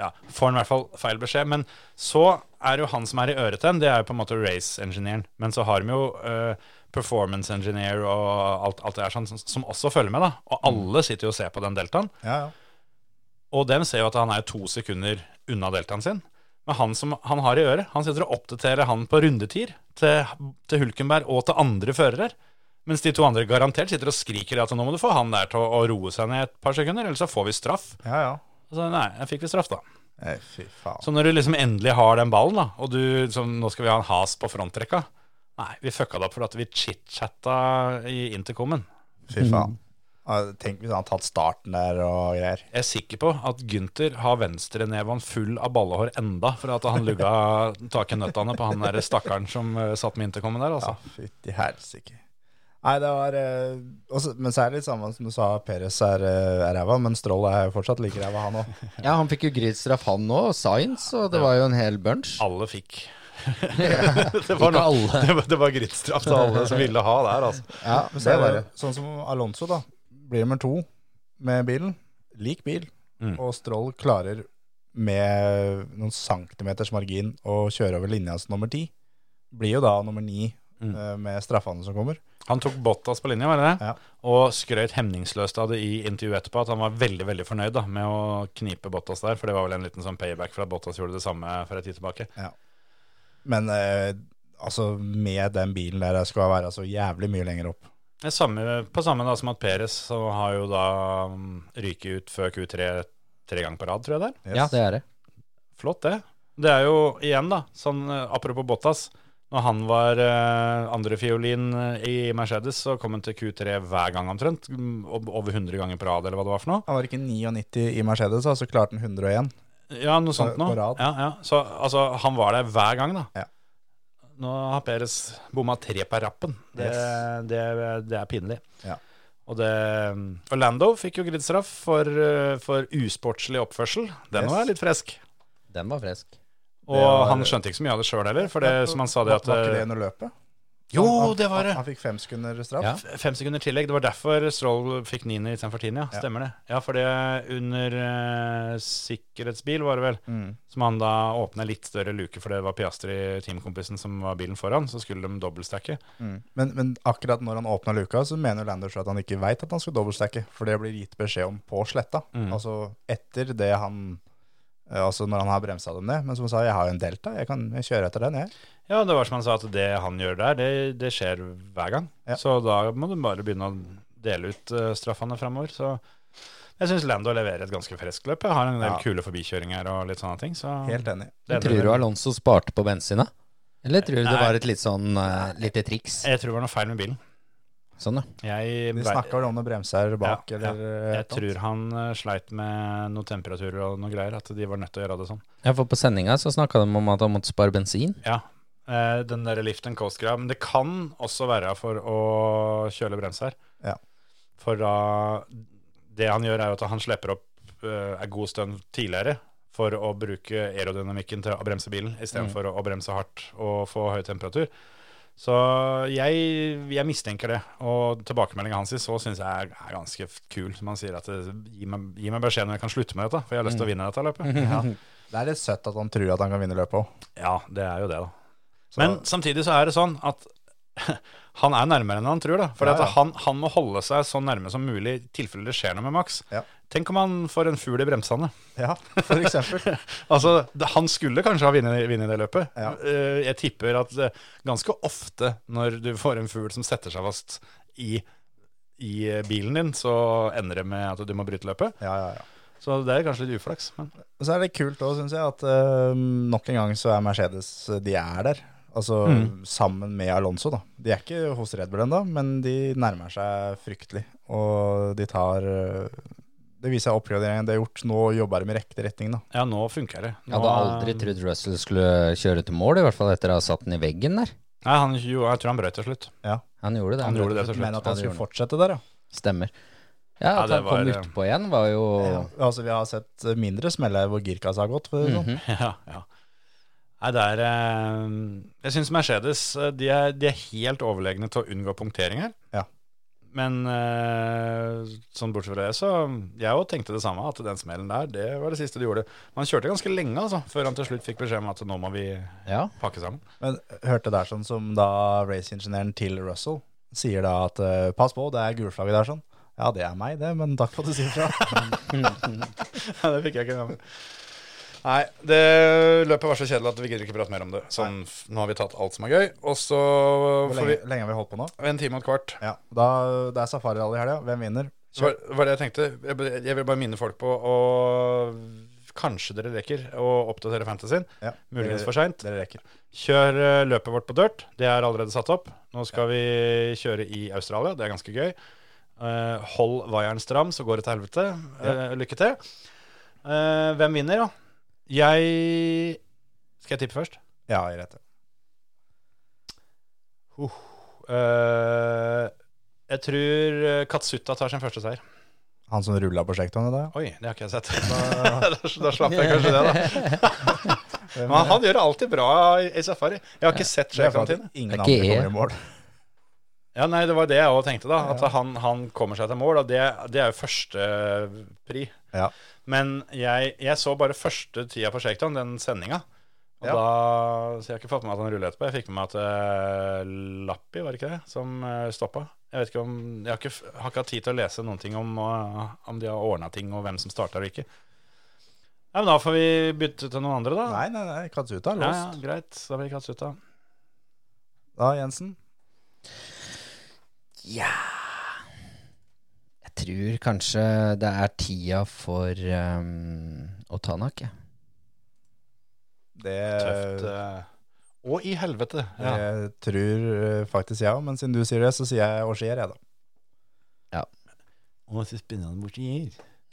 S3: ja, får han i hvert fall feil beskjed. Men så er det jo han som er i øret til en, det er jo på en måte race-engineeren. Men så har de jo eh, performance engineer og alt, alt det der sånn, som- som også følger med, da. Og alle sitter jo og ser på den deltaen.
S4: Ja, ja.
S3: Og dem ser jo at han er to sekunder unna deltaen sin. Men han som han har i øret, han sitter og oppdaterer han på rundetider til, til Hulkenberg og til andre førere. Mens de to andre garantert sitter og skriker at nå må du få han der til å, å roe seg ned et par sekunder, ellers så får vi straff.
S4: ja, ja.
S3: Og Så nei, jeg fikk vi straff da.
S4: Nei, fy faen.
S3: Så når du liksom endelig har den ballen da, og du som nå skal vi ha en has på fronttrekka, nei, vi fucka det opp for at vi chit-chatta i intercomen.
S4: Fy faen. Ja, Tenk hvis han hadde tatt starten der og greier.
S3: Jeg er sikker på at Gunther har venstreneven full av ballehår enda, for at han lugga tak i nøttene på han der stakkaren som eh, satt med intercomen der.
S4: Ja,
S3: altså.
S4: fytti helsike. Nei, det var eh, også, Men så er det litt samme som du sa, Peres er eh, er ræva, men Stroll er jo fortsatt like ræva, han
S5: <laughs>
S4: òg.
S5: Ja, han fikk jo gridstraff, han òg, og Science, og det var jo en hel bunch.
S3: Alle fikk. <laughs> det,
S5: Ikke
S3: var noe,
S5: alle.
S3: <laughs> det, var- det var grittstraff til alle som ville ha der, altså.
S4: Ja,
S5: det var det.
S4: Sånn som Alonso, da. Blir nummer to med bilen. Lik bil.
S3: Mm.
S4: Og Stroll klarer med noen centimeters margin å kjøre over linja som nummer ti. Blir jo da nummer ni
S3: Mm.
S4: eh, med straffene som kommer.
S3: Han tok Bottas på linja, var det det?
S4: Ja.
S3: Og skrøt hemningsløst av det i intervjuet etterpå, at han var veldig veldig fornøyd da, med å knipe Bottas der, for det var vel en liten sånn payback for at Bottas gjorde det samme for en tid tilbake.
S4: Men eh, altså, med den bilen der jeg skulle være så jævlig mye lenger opp.
S3: Det samme, på samme da som at Peres så har jo da mm, ryket ut før Q3 tre ganger på rad, tror jeg det er.
S5: <laughs>
S4: Yes.
S5: Ja, det er det.
S3: Flott det. Det er jo igjen da, sånn eh, apropos Bottas, når han var eh, andre fiolin eh, i Mercedes, så kom han til Q3 hver gang omtrent, mm, ob- over 100 ganger på rad, eller hva det var for noe.
S4: Han var ikke 99 i Mercedes, da, så klarte han 101.
S3: Ja, noe sånt nå.
S4: på rad.
S3: Ja, ja. Så altså, han var der hver gang da.
S4: Ja.
S3: Nå har Peres bomma tre på rappen. Det, det, det er pinlig.
S4: Ja.
S3: Og det, mm, Orlando fikk jo gridstraff for, eh, for usportslig oppførsel. Den
S4: Yes.
S3: var litt fresk.
S5: Den var frisk.
S3: Og
S4: var-
S3: han skjønte ikke så mye av det sjøl heller, for det som han sa det at eh,
S4: Var ikke det under løpet?
S3: Jo,
S4: Han- han-
S3: det var det!
S4: Han, han fikk fem sekunder straff.
S3: F- Fem sekunder tillegg. Det var derfor Stroll fikk niende istedenfor tiende, ja.
S4: Ja.
S3: Stemmer det. Ja, for det under eh, sikkerhetsbil, var det vel,
S4: Mm.
S3: som han da åpna litt større luke, for det var Piastri, teamkompisen, som var bilen foran, så skulle de dobbeltstacke.
S4: Mm. Men, men akkurat når han åpna luka, så mener Landers at han ikke veit at han skal dobbeltstacke. For det blir gitt beskjed om på sletta.
S3: Mm.
S4: Altså etter det han eh, Altså når han har bremsa dem ned. Men som han sa, jeg har jo en Delta, jeg kan kjøre etter den, jeg.
S3: Ja, det var som han sa, at det han gjør der, det, det skjer hver gang.
S4: Ja.
S3: Så da må du bare begynne å dele ut eh, straffene framover. Så jeg syns Lando leverer et ganske friskt løp. Jeg har en del
S4: Ja.
S3: kule forbikjøringer og litt sånne ting. Så
S4: Helt enig.
S3: det
S5: Tror du Alonso sparte på bensina? Eller tror du det
S3: Nei.
S5: var et litt sånn eh, lite triks?
S3: Jeg tror det var noe feil med bilen.
S5: Sånn, ja.
S3: Jeg,
S4: De snakker vel om noen bremser bak,
S3: Ja, ja.
S4: eller eh,
S3: jeg
S4: et eller annet.
S3: tror han eh, sleit med noen temperaturer og noe greier, at de var nødt til å gjøre det sånn.
S5: Ja, for på sendinga så snakka de om at han måtte spare bensin.
S3: Ja, eh, den der lift and coast-greia. Men det kan også være for å kjøle bremser.
S4: Ja.
S3: For da Det han gjør, er jo at han slipper opp eh, en god stund tidligere for å bruke aerodynamikken til å bremse bilen
S4: Mm.
S3: istedenfor for å bremse hardt og få høy temperatur. Så jeg, jeg mistenker det. Og tilbakemeldinga hans i så syns jeg er, er ganske f- kul. Som han sier at eh, gi meg, gi meg beskjed når jeg kan slutte med dette, for jeg har lyst
S4: Mm.
S3: til å vinne dette
S4: <laughs>
S3: løpet. Ja.
S4: Det er litt søtt at han tror at han kan vinne løpet òg.
S3: Ja, det er jo det, da. Men samtidig så er det sånn at <laughs> han er nærmere enn han tror, da. For
S4: Ja,
S3: at
S4: ja.
S3: han, han må holde seg så nærme som mulig i tilfelle det skjer noe med Max.
S4: Ja.
S3: Tenk om han får en fugl i bremsene.
S4: Ja, for
S3: <laughs>
S4: eksempel.
S3: Altså, det, han skulle kanskje ha vunnet vunnet det løpet.
S4: Ja.
S3: Eh, Jeg tipper at eh, ganske ofte når du får en fugl som setter seg fast i, i eh, bilen din, så ender det med at du må bryte løpet.
S4: Ja, ja, ja.
S3: Så det er kanskje litt uflaks. Men
S4: Og Så er det kult òg, syns jeg, at eh, nok en gang så er Mercedes eh, De er der. Altså sammen med Alonso, da. De er ikke hos Red Bull ennå, men de nærmer seg fryktelig. Og de tar eh, Det viser oppgraderingen de har gjort. Nå jobber de i riktig retning, da.
S3: ja, nå funker det. Nå,
S5: Jeg hadde aldri trodd Russell skulle kjøre til mål, i hvert fall etter å ha satt den i veggen der.
S3: Nei, han, jo, jeg tror han brøt til slutt.
S4: Ja.
S5: Han gjorde det.
S3: Han gjorde det til slutt.
S5: Ja,
S4: Men at han
S5: det
S4: skulle
S5: gjorde han.
S4: fortsette der, ja.
S5: Stemmer. Ja, at
S3: det
S5: han kom
S3: var, eh,
S5: utpå igjen, var jo
S4: ja. Altså, vi har sett mindre smeller hvor girkassa har gått. For å si det sånn.
S3: <laughs> Ja, ja. Nei, det er eh, Jeg syns Mercedes eh, de er, de er helt overlegne til å unngå punktering her.
S4: Ja.
S3: Men eh, sånn bortsett fra det, så Jeg òg tenkte det samme, at den smellen der, det var det siste du gjorde. Men han kjørte ganske lenge, altså, før han til slutt fikk beskjed om at nå må vi
S5: Ja.
S3: pakke <laughs> sammen.
S4: Men hørte der sånn som da raceingeniøren til Russell sier da at eh, pass på, det er gulflagget der sånn. Ja, det er meg det, men takk for at du sier fra.
S3: Nei, det fikk jeg ikke med meg. Nei, det løpet var så kjedelig at vi gidder ikke prate mer om det. Sånn, f- nå har vi tatt alt som er gøy, og så
S4: Hvor
S3: får
S4: lenge,
S3: vi
S4: lenge har vi holdt på nå?
S3: en time og et kvart.
S4: Ja, da, Det er safarirally i helga. Hvem vinner?
S3: Det var, var det jeg tenkte. Jeg, bare- jeg vil bare minne folk på å Kanskje dere rekker å oppdatere fantasyen.
S4: Ja.
S3: Muligens
S4: Dere-
S3: for seint.
S4: Dere rekker.
S3: Kjør eh, løpet vårt på dirt. Det er allerede satt opp. Nå skal vi kjøre i Australia. Det er ganske gøy. Eh, hold vaieren stram, så går det til helvete. Eh, lykke til. Eh, hvem vinner, da? Jeg Skal jeg tippe først?
S4: Ja, jeg retter.
S3: Eh, jeg tror eh, Katsuta tar sin første seier.
S4: Han som rulla på sjektoren i dag?
S3: Oi, det har ikke jeg sett. Da, da, <laughs> da slapp jeg kanskje det, da.
S4: ja.
S3: Men han, han gjør det alltid bra i, i safari. Jeg har ikke sett
S4: Det er
S3: Sjef
S4: for at
S3: Antine.
S5: Det
S4: Ingen
S5: er
S4: andre
S5: ikke jeg.
S4: kommer i mål.
S3: Ja, nei, det var det jeg òg tenkte, da. At han, han kommer seg til mål. Og det, det er jo første pri.
S4: Ja.
S3: Men jeg, jeg så bare første tida på Shakedown, den sendinga. Og
S4: Ja.
S3: da, så jeg har ikke fått med meg at han rullet etterpå. Jeg fikk med meg at eh, Lappi, var det ikke det, som uh, stoppa. Jeg vet ikke om, jeg har ikke, f- har ikke hatt tid til å lese noen ting om, eh, om de har ordna ting, og hvem som starter og ikke. Ja, men da får vi bytte til noen andre, da.
S4: Nei, nei, nei. Katsuta
S3: Ja,
S4: er låst.
S3: ja, greit. Da blir Katsuta.
S4: Da, Jensen.
S5: Jeg tror kanskje det er tida for um, Otanak, jeg.
S4: Det
S3: Tøft. eh, Og i helvete. Ja.
S4: Jeg tror eh, faktisk jeg òg, men siden du sier det, så sier jeg Åsier, jeg, da.
S3: Og så spennende borti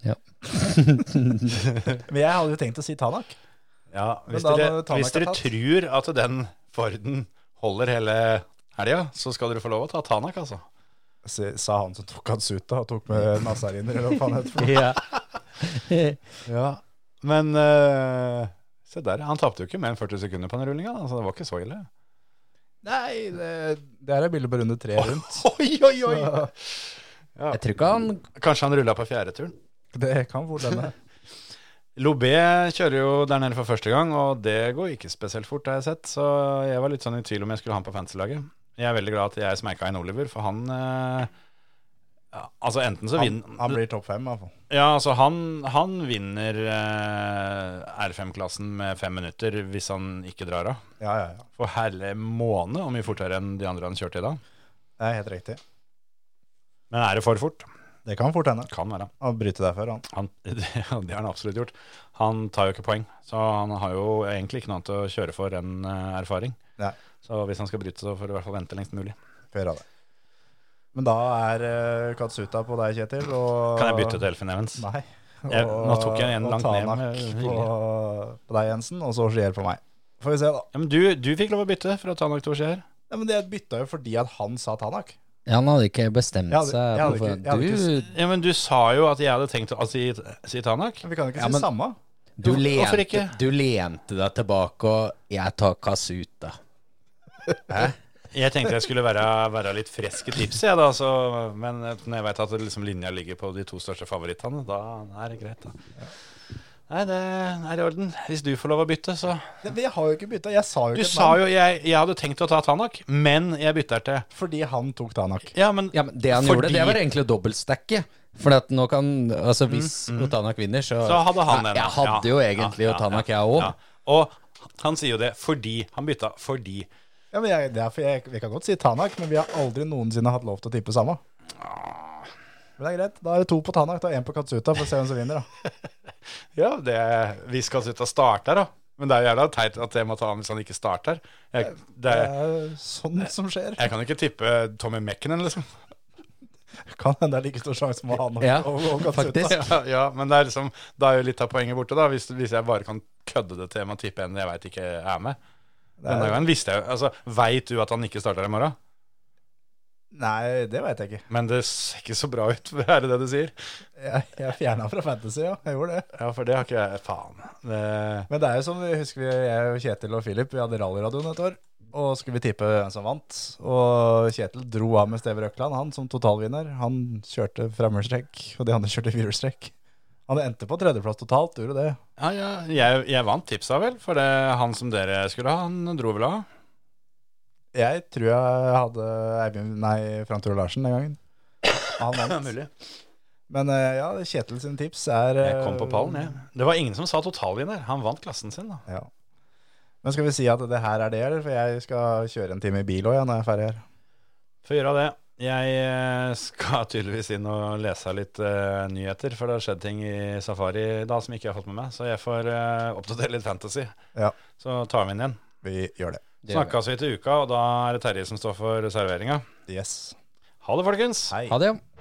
S3: her.
S4: Men jeg hadde jo tenkt å si Tanak.
S3: Ja, hvis
S4: da
S3: dere,
S4: må Tanak
S3: hvis dere
S4: ha tatt.
S3: tror at den Forden holder hele helga, så skal dere få lov å ta Tanak, altså.
S4: Se- sa han som tok Katsuta og tok med nazariner, eller hva faen det heter. for noe.
S5: Ja.
S4: <laughs>
S3: Ja, men eh, se der, han tapte jo ikke mer enn 40 sekunder på den rullinga, da, så det var ikke så ille.
S4: Nei, det, det her er bildet på runde tre rundt.
S3: Oi, oi, oi!
S5: Jeg tror ikke han
S3: Kanskje han rulla på fjerdeturen.
S4: Det kan fort hende.
S3: Lobé kjører jo der nede for første gang, og det går ikke spesielt fort, har jeg sett. Så jeg var litt sånn i tvil om jeg skulle ha han på fantasy-laget. Jeg er veldig glad at jeg smeika inn Oliver, for han eh, ja, Altså, enten så
S4: Han,
S3: vinner
S4: han blir topp fem, i hvert fall.
S3: Ja, altså han, han vinner eh, R5-klassen med fem minutter hvis han ikke drar av.
S4: Ja, ja, ja.
S3: For herre måne og mye fortere enn de andre han kjørte i dag.
S4: Det er helt riktig.
S3: Men er det for fort?
S4: Det kan fort hende.
S3: Kan være.
S4: Han bryter derfor, han.
S3: Han, <laughs> det har han absolutt gjort. Han tar jo ikke poeng, så han har jo egentlig ikke noe annet å kjøre for enn eh, erfaring.
S4: Nei.
S3: Så hvis han skal bryte, så får du i hvert fall vente lengst mulig.
S4: Får gjøre det. Men da er eh, Katsuta på deg, Kjetil. Og,
S3: Kan jeg bytte til Elfin Evans?
S4: Nei.
S3: Jeg- nå tok jeg en
S4: og
S3: langt ned med
S4: Tanak på,
S3: vilje.
S4: på deg, Jensen, og så Gier på meg. Får vi se, da.
S3: Ja, men du, du fikk lov å bytte for å ta nok to skjeer.
S4: Nei, men Jeg bytta jo fordi at han sa Tanak.
S5: Ja, han hadde ikke bestemt
S4: Jeg hadde-
S5: seg.
S4: jeg hadde
S5: på
S4: ikke- jeg hadde
S5: forhånd. du,
S3: Ja, men du sa jo at jeg hadde tenkt å si, si Tanak.
S4: Men Vi kan jo
S5: Ja,
S4: ikke si
S5: men-
S4: samme.
S5: du,
S3: Jo, hvorfor
S5: lente,
S3: ikke?
S5: du lente deg tilbake og 'jeg tar Kasuta'.
S3: Jeg tenkte jeg skulle være, være litt fresk i tipset, jeg da. Så, men når jeg veit at det liksom linja ligger på de to største favorittene, da er det greit, da. Nei, det er i orden. Hvis du får lov å bytte, så
S4: Nei, men Jeg har jo ikke bytta. Jeg sa jo
S3: Du
S4: ikke et
S3: sa
S4: navn
S3: jo jeg, jeg hadde tenkt å ta Tanak, men jeg bytter til
S4: fordi han tok Tanak.
S3: Ja, men,
S5: Ja, men Det han gjorde, det var egentlig å dobbeltstacke. For at nå kan, altså hvis Otanak vinner, så
S3: Mm, Så hadde han
S5: Nei,
S3: den.
S5: Jeg hadde
S3: Ja,
S5: jo egentlig
S3: ja, ja,
S5: Otanak,
S3: ja,
S5: jeg òg.
S3: ja. Og han sier jo det fordi Han bytta fordi
S4: Ja, men jeg, det er for jeg, Vi kan godt si Tanak, men vi har aldri noensinne hatt lov til å tippe samme.
S3: Ah.
S4: Men det er greit. Da er det to på Tanak og én på Katsuta, for å se hvem som vinner. da.
S3: Ja, det, vi skal slutte å starte her, da. Men det er jo jævla teit at jeg må ta ham hvis han ikke starter. Jeg, det,
S4: Det er jo sånn som skjer.
S3: jeg kan ikke tippe Tommy Mekkenen, liksom.
S4: Kan hende det er like stor sjanse med han og,
S5: Ja,
S4: og, og Katsuta.
S5: faktisk.
S3: <laughs> Ja, ja, men det er liksom, da er jo litt av poenget borte, da. Hvis, hvis jeg bare kan kødde det til med å tippe en jeg veit ikke er med. Denne gangen visste jeg jo Altså, veit du at han ikke starter i morgen?
S4: Nei, det veit jeg ikke.
S3: Men det ser ikke så bra ut, <laughs> er det det du sier?
S4: Jeg, jeg fjerna fra Fantasy, ja. Jeg gjorde det.
S3: Ja, for det har ikke jeg Faen. Det,
S4: Men det er jo som vi husker, vi, jeg, og Kjetil og Philip vi hadde rallyradioen et år. Og skulle vi tippe hvem som vant. Og Kjetil dro av med Steve Røkland, han som totalvinner. Han kjørte fremhjulstrekk, og de andre kjørte firehjulstrekk. Han endte på tredjeplass totalt, gjorde det.
S3: ja, ja, jeg, jeg vant tipsa, vel? For det, han som dere skulle ha, han dro vel av?
S4: Jeg tror jeg hadde Eivind, nei, Frank Tore Larsen den gangen. Han vant.
S3: <laughs> mulig.
S4: Men eh, ja, Kjetil sine tips er eh,
S3: Jeg kom på pallen, jeg. Det var ingen som sa totalvinner. Han vant klassen sin, da.
S4: Ja. Men skal vi si at det her er det, eller? For jeg skal kjøre en time i bil òg, ja, når jeg er ferdig her.
S3: Få gjøre det. Jeg eh, skal tydeligvis inn og lese litt eh, nyheter, for det har skjedd ting i Safari da som ikke jeg har fått med meg. Så jeg får eh, oppdatere litt fantasy.
S4: Ja.
S3: Så tar vi den igjen.
S4: Vi gjør det.
S5: Det-
S3: Snakkes vi til uka, og da er det Terje som står for serveringa.
S4: Yes.
S3: Ha det, folkens.
S4: Hei.
S5: Ha det. ja.